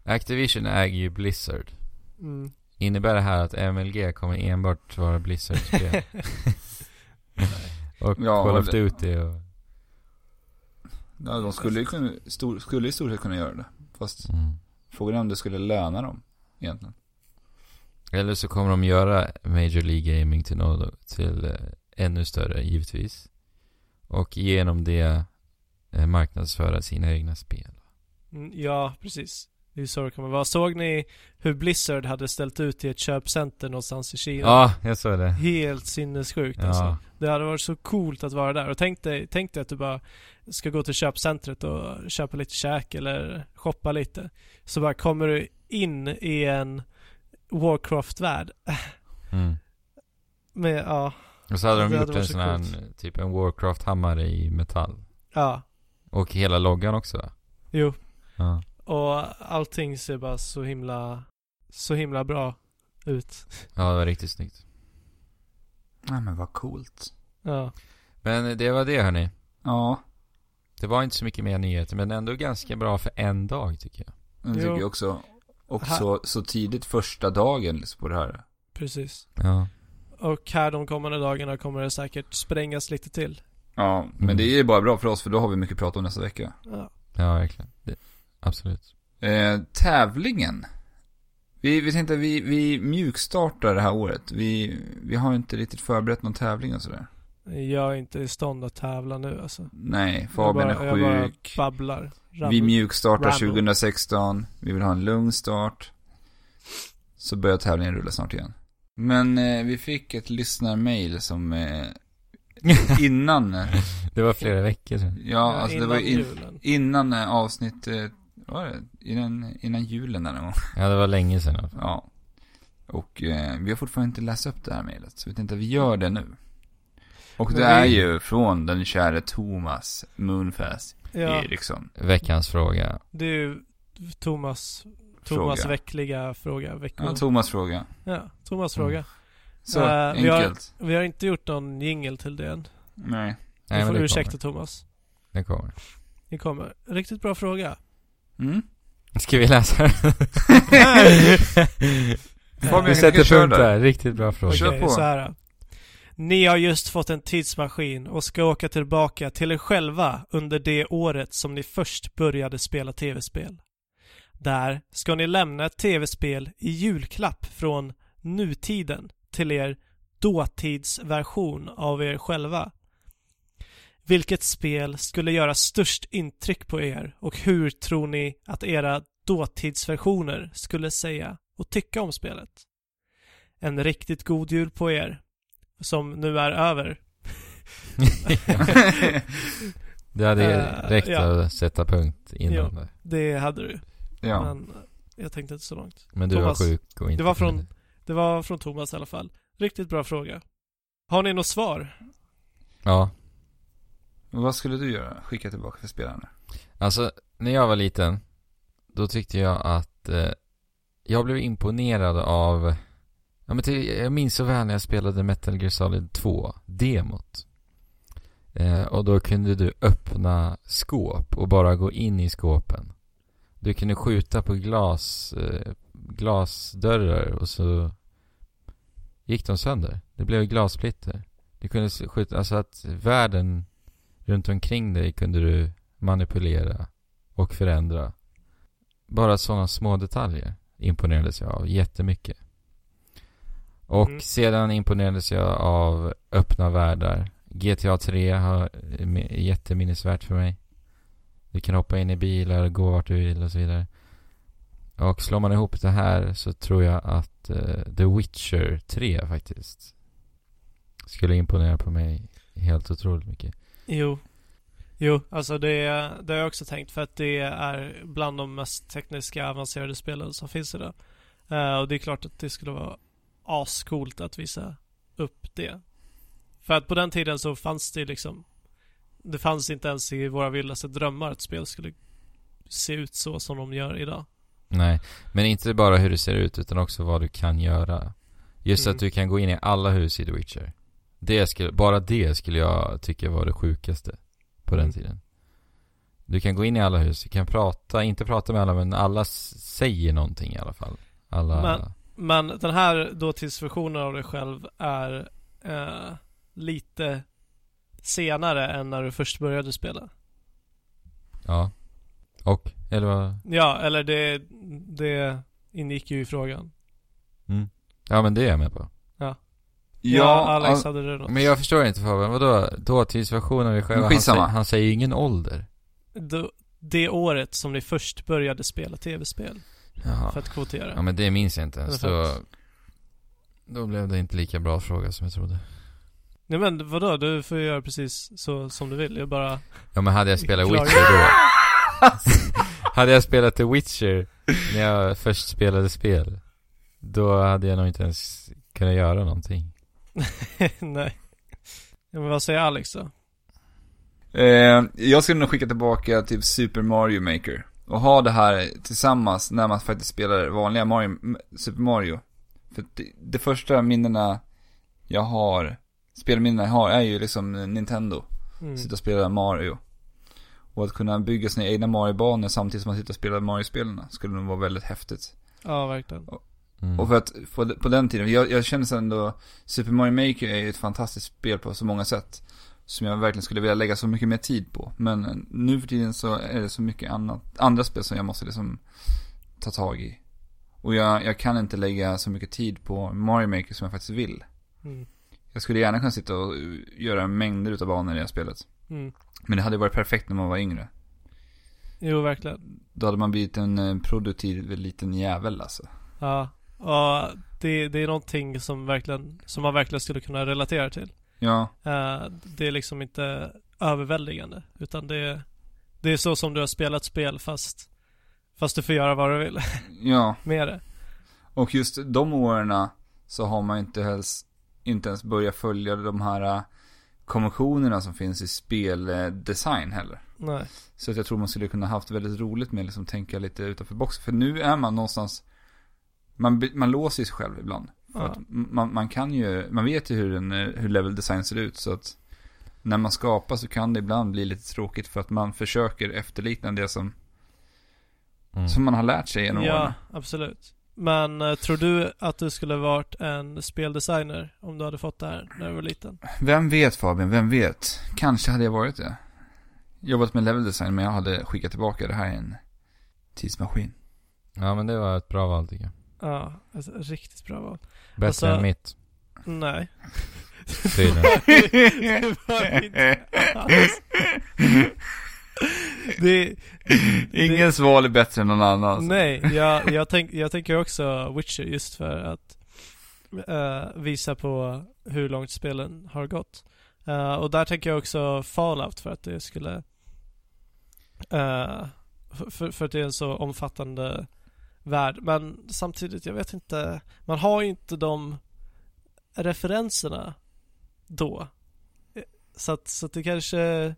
Speaker 2: Activision äger ju Blizzard.
Speaker 3: Mm.
Speaker 2: Innebär det här att MLG kommer enbart vara Blizzard-spel? och
Speaker 1: Ja,
Speaker 2: Call
Speaker 1: och
Speaker 2: of
Speaker 1: det-
Speaker 2: Duty och...
Speaker 1: ja de skulle ju kunna, stor, skulle i stort sett kunna göra det. Fast
Speaker 2: Mm.
Speaker 1: frågan är om det skulle löna dem egentligen.
Speaker 2: Eller så kommer de göra Major League Gaming till, något, till eh, ännu större, givetvis. Och genom det eh, marknadsföra sina egna spel.
Speaker 3: Mm, Ja, precis. Det är så det kommer vara. Såg ni hur Blizzard hade ställt ut i ett köpcenter någonstans i Kina?
Speaker 2: Ja, jag såg det.
Speaker 3: Helt sinnessjukt alltså.
Speaker 2: Ja.
Speaker 3: Det hade varit så coolt att vara där. Och tänk dig, tänk dig att du bara ska gå till köpcentret och köpa lite käk eller shoppa lite. Så bara kommer du in i en Warcraft-värld.
Speaker 2: Mm.
Speaker 3: Med, ja,
Speaker 2: Och så hade de
Speaker 3: Det hade
Speaker 2: gjort en
Speaker 3: varit så
Speaker 2: sån här,
Speaker 3: coolt.
Speaker 2: en, typ en Warcraft-hammare i metall.
Speaker 3: ja,
Speaker 2: Och hela loggan också va?
Speaker 3: jo.
Speaker 2: Ja.
Speaker 3: Och allting ser bara så himla, så himla bra ut.
Speaker 2: ja, det var riktigt snyggt.
Speaker 1: Nej men vad coolt.
Speaker 3: Ja.
Speaker 2: Men det var det hörni.
Speaker 1: Ja,
Speaker 2: Det var inte så mycket mer nyheter, men ändå ganska bra för en dag tycker jag.
Speaker 1: det tycker
Speaker 3: Jo.
Speaker 1: jag också. Och
Speaker 3: Här-
Speaker 1: så, så tidigt första dagen liksom, på det här.
Speaker 3: Precis.
Speaker 2: Ja.
Speaker 3: Och här de kommande dagarna kommer det säkert sprängas lite till.
Speaker 1: Ja, men
Speaker 2: Mm.
Speaker 1: det är ju bara bra för oss för då har vi mycket att prata om nästa vecka.
Speaker 3: Ja.
Speaker 2: Ja, verkligen. Det, absolut.
Speaker 1: Eh, tävlingen. Vi, vi tänkte att vi, vi mjukstartar det här året. Vi, vi har inte riktigt förberett någon tävling och sådär.
Speaker 3: Jag är inte i stånd att tävla nu alltså.
Speaker 1: Nej,
Speaker 3: Jag
Speaker 1: Fabian
Speaker 3: bara- Jag
Speaker 1: är
Speaker 3: bara
Speaker 1: sjuk.
Speaker 3: babblar. Rabblar.
Speaker 1: Vi mjükstartar
Speaker 3: Ramble.
Speaker 1: 2016. Vi vill ha en lugn start. Så börjar tävlingen rulla snart igen. Men eh, vi fick ett lyssnarmail som eh, innan, eh,
Speaker 2: Det var flera veckor sedan.
Speaker 1: ja alltså det
Speaker 3: eh, innan
Speaker 1: var in,
Speaker 3: julen.
Speaker 1: innan eh, avsnittet, vad var det? Innan, innan julen där någon gång.
Speaker 2: Ja, det var länge sedan. i alla fall.
Speaker 1: Ja. Och eh, vi har fortfarande inte läst upp det här mejlet, så vi tänkte att vi gör det nu. Och
Speaker 3: Men
Speaker 1: det är
Speaker 3: vi-
Speaker 1: ju från den käre Thomas Moonfast
Speaker 3: Ja,
Speaker 1: Eriksson.
Speaker 2: Veckans fråga.
Speaker 3: det är ju Thomas, Thomas
Speaker 1: Fråga.
Speaker 3: veckliga fråga. Veckor.
Speaker 1: Ja, Thomas fråga.
Speaker 3: ja, Thomas fråga.
Speaker 1: Så,
Speaker 3: Eh, vi har-
Speaker 1: enkelt.
Speaker 3: Vi har inte gjort någon jingel till det än.
Speaker 1: Mm. Nej.
Speaker 3: Du
Speaker 2: Nej, men
Speaker 3: får
Speaker 2: det
Speaker 3: ursäkta
Speaker 2: kommer.
Speaker 3: Thomas.
Speaker 2: Det kommer.
Speaker 3: Det kommer. Riktigt bra fråga.
Speaker 1: Mm.
Speaker 2: Ska vi läsa
Speaker 1: Fabian,
Speaker 2: Vi
Speaker 1: jag tycker
Speaker 2: sätter
Speaker 1: jag kör
Speaker 2: punkt
Speaker 1: där.
Speaker 2: där. Riktigt bra fråga.
Speaker 1: Kör
Speaker 3: Okej,
Speaker 1: på.
Speaker 3: så här. Ni har just fått en tidsmaskin och ska åka tillbaka till er själva under det året som ni först började spela tv-spel. Där ska ni lämna ett tv-spel i julklapp från nutiden till er dåtidsversion av er själva. Vilket spel skulle göra störst intryck på er och hur tror ni att era dåtidsversioner skulle säga och tycka om spelet? en riktigt god jul på er. Som nu är över.
Speaker 2: Det hade
Speaker 3: Eh,
Speaker 2: ju räckt
Speaker 3: ja.
Speaker 2: att sätta punkt
Speaker 3: Ja.
Speaker 2: innan det.
Speaker 3: Det hade du.
Speaker 1: ja.
Speaker 3: Men jag tänkte inte så långt.
Speaker 2: Men du
Speaker 3: Thomas,
Speaker 2: var sjuk och inte
Speaker 3: det var från-
Speaker 2: kunde.
Speaker 3: Det var från Thomas i alla fall. Riktigt bra fråga. Har ni något svar?
Speaker 2: Ja.
Speaker 1: Vad skulle du göra? Skicka tillbaka för spelarna.
Speaker 2: Alltså, när jag var liten, då tyckte jag att eh, jag blev imponerad av, ja, men till, jag minns så väl när jag spelade Metal Gear Solid 2, demot. Eh, och då kunde du öppna skåp och bara gå in i skåpen. Du kunde skjuta på glas, eh, glasdörrar och så gick de sönder. Det blev glassplitter. Du kunde s- skjuta, alltså att världen runt omkring dig kunde du manipulera och förändra. Bara sådana små detaljer imponerades jag av jättemycket. Och
Speaker 3: Mm.
Speaker 2: sedan imponerades jag av öppna världar. GTA 3 har eh, me- är jätteminnesvärt för mig. Du kan hoppa in i bilar, gå vart du vill och så vidare. Och slår man ihop det här så tror jag att eh, The Witcher 3 faktiskt skulle imponera på mig helt otroligt mycket.
Speaker 3: Jo. Jo, alltså det, det har jag också tänkt för att det är bland de mest tekniska avancerade spelen som finns idag. Eh, och det är klart att det skulle vara ascoolt att visa upp det. För att på den tiden så fanns det liksom Det fanns inte ens i våra vildaste drömmar att spel skulle se ut så som de gör idag.
Speaker 2: Nej, men inte bara hur det ser ut utan också vad du kan göra. Just
Speaker 3: Mm.
Speaker 2: att du kan gå in i alla hus i The Witcher. Det skulle, bara det skulle jag tycka var det sjukaste på den
Speaker 3: Mm.
Speaker 2: tiden. Du kan gå in i alla hus, du kan prata, inte prata med alla men alla s- säger någonting i alla fall. Alla...
Speaker 3: Men- Men den här dåtidsversionen av dig själv är eh, lite senare än när du först började spela.
Speaker 2: Ja. Och? Eller vad?
Speaker 3: Ja, eller det, det ingick ju i frågan.
Speaker 2: Ja men det är jag med på.
Speaker 3: Ja, Alex
Speaker 1: all-
Speaker 3: hade det då.
Speaker 2: Men jag förstår inte Fabian, vadå? Dåtidsversionen av dig själv?
Speaker 1: Men
Speaker 2: Han,
Speaker 1: skitsamma.
Speaker 2: säger- han säger ju ingen ålder.
Speaker 3: Då- Det året som ni först började spela tv-spel
Speaker 2: Jaha.
Speaker 3: för att kvotera.
Speaker 2: Ja men det minns jag inte ens.
Speaker 3: Eller för
Speaker 2: Då, då blev det inte lika bra fråga som jag trodde.
Speaker 3: Nej men vadå, du får ju göra precis så som du vill. Jag bara...
Speaker 2: Ja men hade jag spelat
Speaker 3: Klar.
Speaker 2: Witcher då? hade jag spelat The Witcher när jag först spelade spel? Då hade jag nog inte ens kunnat göra någonting.
Speaker 3: Nej. Ja, men vad säger Alex då?
Speaker 1: Eh, jag skulle nog skicka tillbaka till Super Mario Maker. Och ha det här tillsammans när man faktiskt spelar vanliga Mario, M- Super Mario. För det, det första minnena jag har, spelminnena jag har är ju liksom Nintendo.
Speaker 3: Mm.
Speaker 1: Sitta och spela Mario. Och att kunna bygga sina egna Mario-banor samtidigt som man sitter och spelar Mario-spelen skulle nog vara väldigt häftigt.
Speaker 3: Ja, verkligen.
Speaker 2: Mm.
Speaker 1: Och för att på, på den tiden, jag, jag känner sen då, Super Mario Maker är ju ett fantastiskt spel på så många sätt. Som jag verkligen skulle vilja lägga så mycket mer tid på. Men eh, nu för tiden så är det så mycket annat, andra spel som jag måste liksom ta tag i. Och jag, jag kan inte lägga så mycket tid på Mario Maker som jag faktiskt vill.
Speaker 3: Mm.
Speaker 1: Jag skulle gärna kunna sitta och uh, göra mängder utav banor i det här spelet.
Speaker 3: Mm.
Speaker 1: Men det hade varit perfekt när man var yngre.
Speaker 3: Jo, verkligen.
Speaker 1: Då hade man blivit en eh, produktiv liten jävel alltså.
Speaker 3: Ja. Och det, det är någonting som, verkligen, som man verkligen skulle kunna relatera till.
Speaker 1: Ja,
Speaker 3: Eh, det är liksom inte överväldigande. Utan det är, det är så som du har spelat spel fast, fast du får göra vad du vill
Speaker 1: ja.
Speaker 3: med det.
Speaker 1: Och just de åren så har man ju inte ens, inte ens börjat följa de här eh, konventionerna som finns i speldesign heller.
Speaker 3: Nej.
Speaker 1: Så att jag tror man skulle kunna haft väldigt roligt med att liksom tänka lite utanför boxen. För nu är man någonstans, man, bli- man låser ju sig själv ibland. För
Speaker 3: Ja.
Speaker 1: att man, man kan ju, man vet ju hur, en, eh, hur level design ser ut så att när man skapar så kan det ibland bli lite tråkigt för att man försöker efterlikna det som,
Speaker 2: Mm.
Speaker 1: som man har lärt sig genom åren.
Speaker 3: Ja, absolut. Men eh, tror du att du skulle varit en speldesigner om du hade fått det här när du var liten?
Speaker 1: Vem vet Fabian, vem vet? Kanske hade jag varit det. Jobbat med level design men jag hade skickat tillbaka det här i en tidsmaskin.
Speaker 2: Ja men det var ett bra val tycker jag.
Speaker 3: Ja, ett riktigt bra val.
Speaker 2: Bättre
Speaker 3: Alltså-
Speaker 2: än mitt.
Speaker 3: Nej.
Speaker 2: Tydligen.
Speaker 3: det var inte alls. Det,
Speaker 1: Ingens val är bättre än någon annans.
Speaker 3: nej, jag, jag, tänk, jag tänker också Witcher just för att eh, visa på hur långt spelen har gått. Eh, och där tänker jag också Fallout för att det skulle eh, för- för, för att det är en så omfattande värld. Men samtidigt, jag vet inte, man har ju inte de referenserna då. Eh, Så att, så att det kanske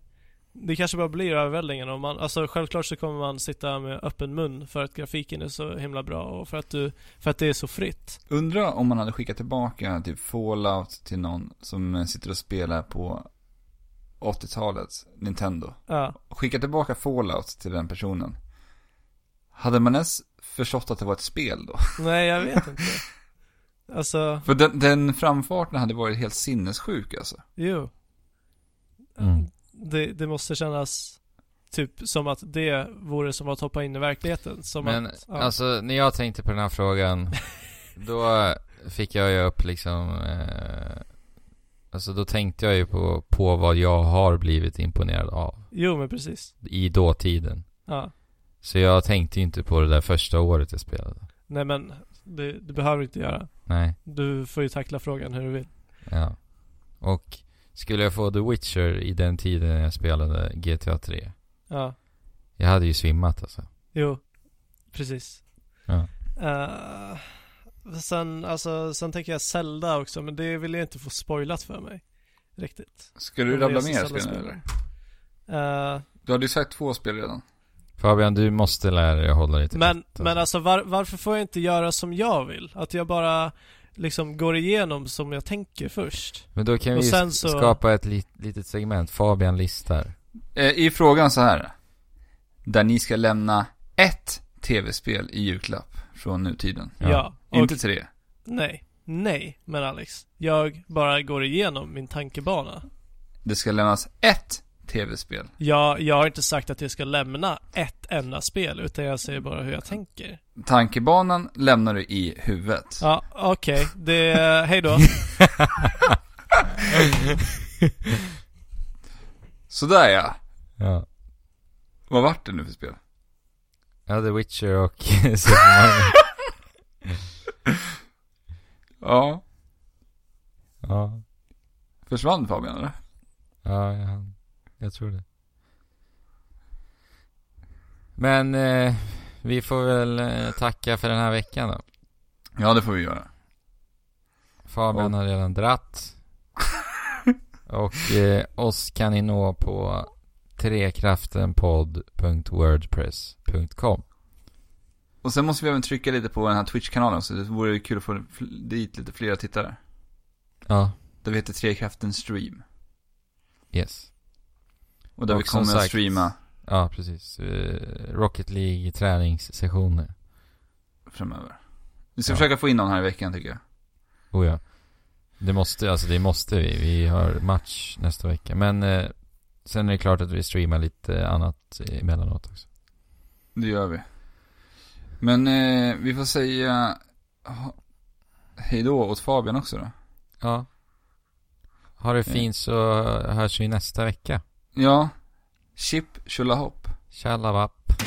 Speaker 3: det kanske bara blir överväldigande om man, alltså självklart så kommer man sitta med öppen mun för att grafiken är så himla bra och för att du, för att det är så fritt.
Speaker 1: Undra om man hade skickat tillbaka typ Fallout till någon som sitter och spelar på 80-talet, Nintendo.
Speaker 3: Ja,
Speaker 1: Skicka tillbaka Fallout till den personen. Hade man ens förstått att det var ett spel då?
Speaker 3: nej jag vet inte. Alltså,
Speaker 1: För den, den framfarten hade varit helt sinnessjuk alltså.
Speaker 3: jo.
Speaker 2: Mm.
Speaker 3: Det, det måste kännas typ som att det vore som att hoppa in i verkligheten. Som
Speaker 2: Men
Speaker 3: att, ja.
Speaker 2: alltså när jag tänkte på den här frågan Då fick jag ju upp liksom eh, Alltså då tänkte jag ju på, på vad jag har blivit imponerad av
Speaker 3: Jo men precis.
Speaker 2: I dåtiden
Speaker 3: Ja.
Speaker 2: Så jag tänkte ju inte på det där första året jag spelade
Speaker 3: Nej men, det, det behöver du inte göra.
Speaker 2: Nej,
Speaker 3: Du får ju tackla frågan hur du vill.
Speaker 2: ja Och skulle jag få The Witcher i den tiden jag spelade GTA 3
Speaker 3: Ja,
Speaker 2: Jag hade ju svimmat alltså
Speaker 3: jo. Precis.
Speaker 2: Ja.
Speaker 3: Eh, Sen, alltså, sen tänker jag Zelda också, men det vill jag inte få spoilat för mig. Riktigt.
Speaker 1: Ska du
Speaker 3: Om det är
Speaker 1: rabbla
Speaker 3: så
Speaker 1: mer
Speaker 3: Zelda
Speaker 1: spel nu
Speaker 3: spelar.
Speaker 1: eller?
Speaker 3: Eh,
Speaker 1: Du hade ju sagt två spel redan.
Speaker 2: Fabian, du måste lära dig att hålla dig till
Speaker 3: Men,
Speaker 2: ett,
Speaker 3: men alltså var, varför får jag inte göra som jag vill? Att jag bara liksom går igenom som jag tänker först.
Speaker 2: Men då kan
Speaker 3: och
Speaker 2: vi
Speaker 3: sen
Speaker 2: sk-
Speaker 3: så-
Speaker 2: skapa ett lit, litet segment, Fabian listar.
Speaker 1: Eh, I frågan så här. Där ni ska lämna ett tv-spel i julklapp från nutiden.
Speaker 2: Ja.
Speaker 3: Ja. och
Speaker 1: Inte tre.
Speaker 3: nej, nej men Alex. Jag bara går igenom min tankebana.
Speaker 1: Det ska lämnas ett tv-spel.
Speaker 3: Jag, jag har inte sagt att jag ska lämna ett enda spel, utan jag säger bara hur jag tänker.
Speaker 1: Tankebanan lämnar du i huvudet.
Speaker 3: Ja, okej. Det, hej då.
Speaker 1: Sådär ja.
Speaker 2: Ja.
Speaker 1: Vad vart det nu för spel?
Speaker 2: ja, The Witcher och Super Mario.
Speaker 1: Ja.
Speaker 2: Ja,
Speaker 1: Försvann Fabian eller?
Speaker 2: ja, ja, jag tror det. Men eh, vi får väl eh, tacka för den här veckan då.
Speaker 1: Ja, det får vi göra.
Speaker 2: Fabian har redan dratt. och eh, oss kan ni nå på trekraftenpodd.wordpress.com
Speaker 1: Och sen måste vi även trycka lite på den här Twitch-kanalen så det vore ju kul att få fl- dit lite flera tittare.
Speaker 2: Ja,
Speaker 1: Där vi heter Trekraften Stream.
Speaker 2: yes.
Speaker 1: Och där
Speaker 2: Och
Speaker 1: vi
Speaker 2: som
Speaker 1: kommer att
Speaker 2: sagt-
Speaker 1: streama
Speaker 2: Ja, precis. Eh, Rocket League träningssessioner.
Speaker 1: framöver. Vi ska
Speaker 2: Ja.
Speaker 1: försöka få in någon här i veckan tycker jag.
Speaker 2: Oh ja. Det måste, alltså det måste vi. Vi har match nästa vecka. Men eh, sen är det klart att vi streamar lite annat emellanåt också.
Speaker 1: Det gör vi. Men eh, vi får säga ha- hej då åt Fabian också då.
Speaker 2: Ja. Eh. Ha det fint så hörs vi nästa vecka.
Speaker 1: Ja, Chip Tjolahopp.
Speaker 2: Tjalabapp.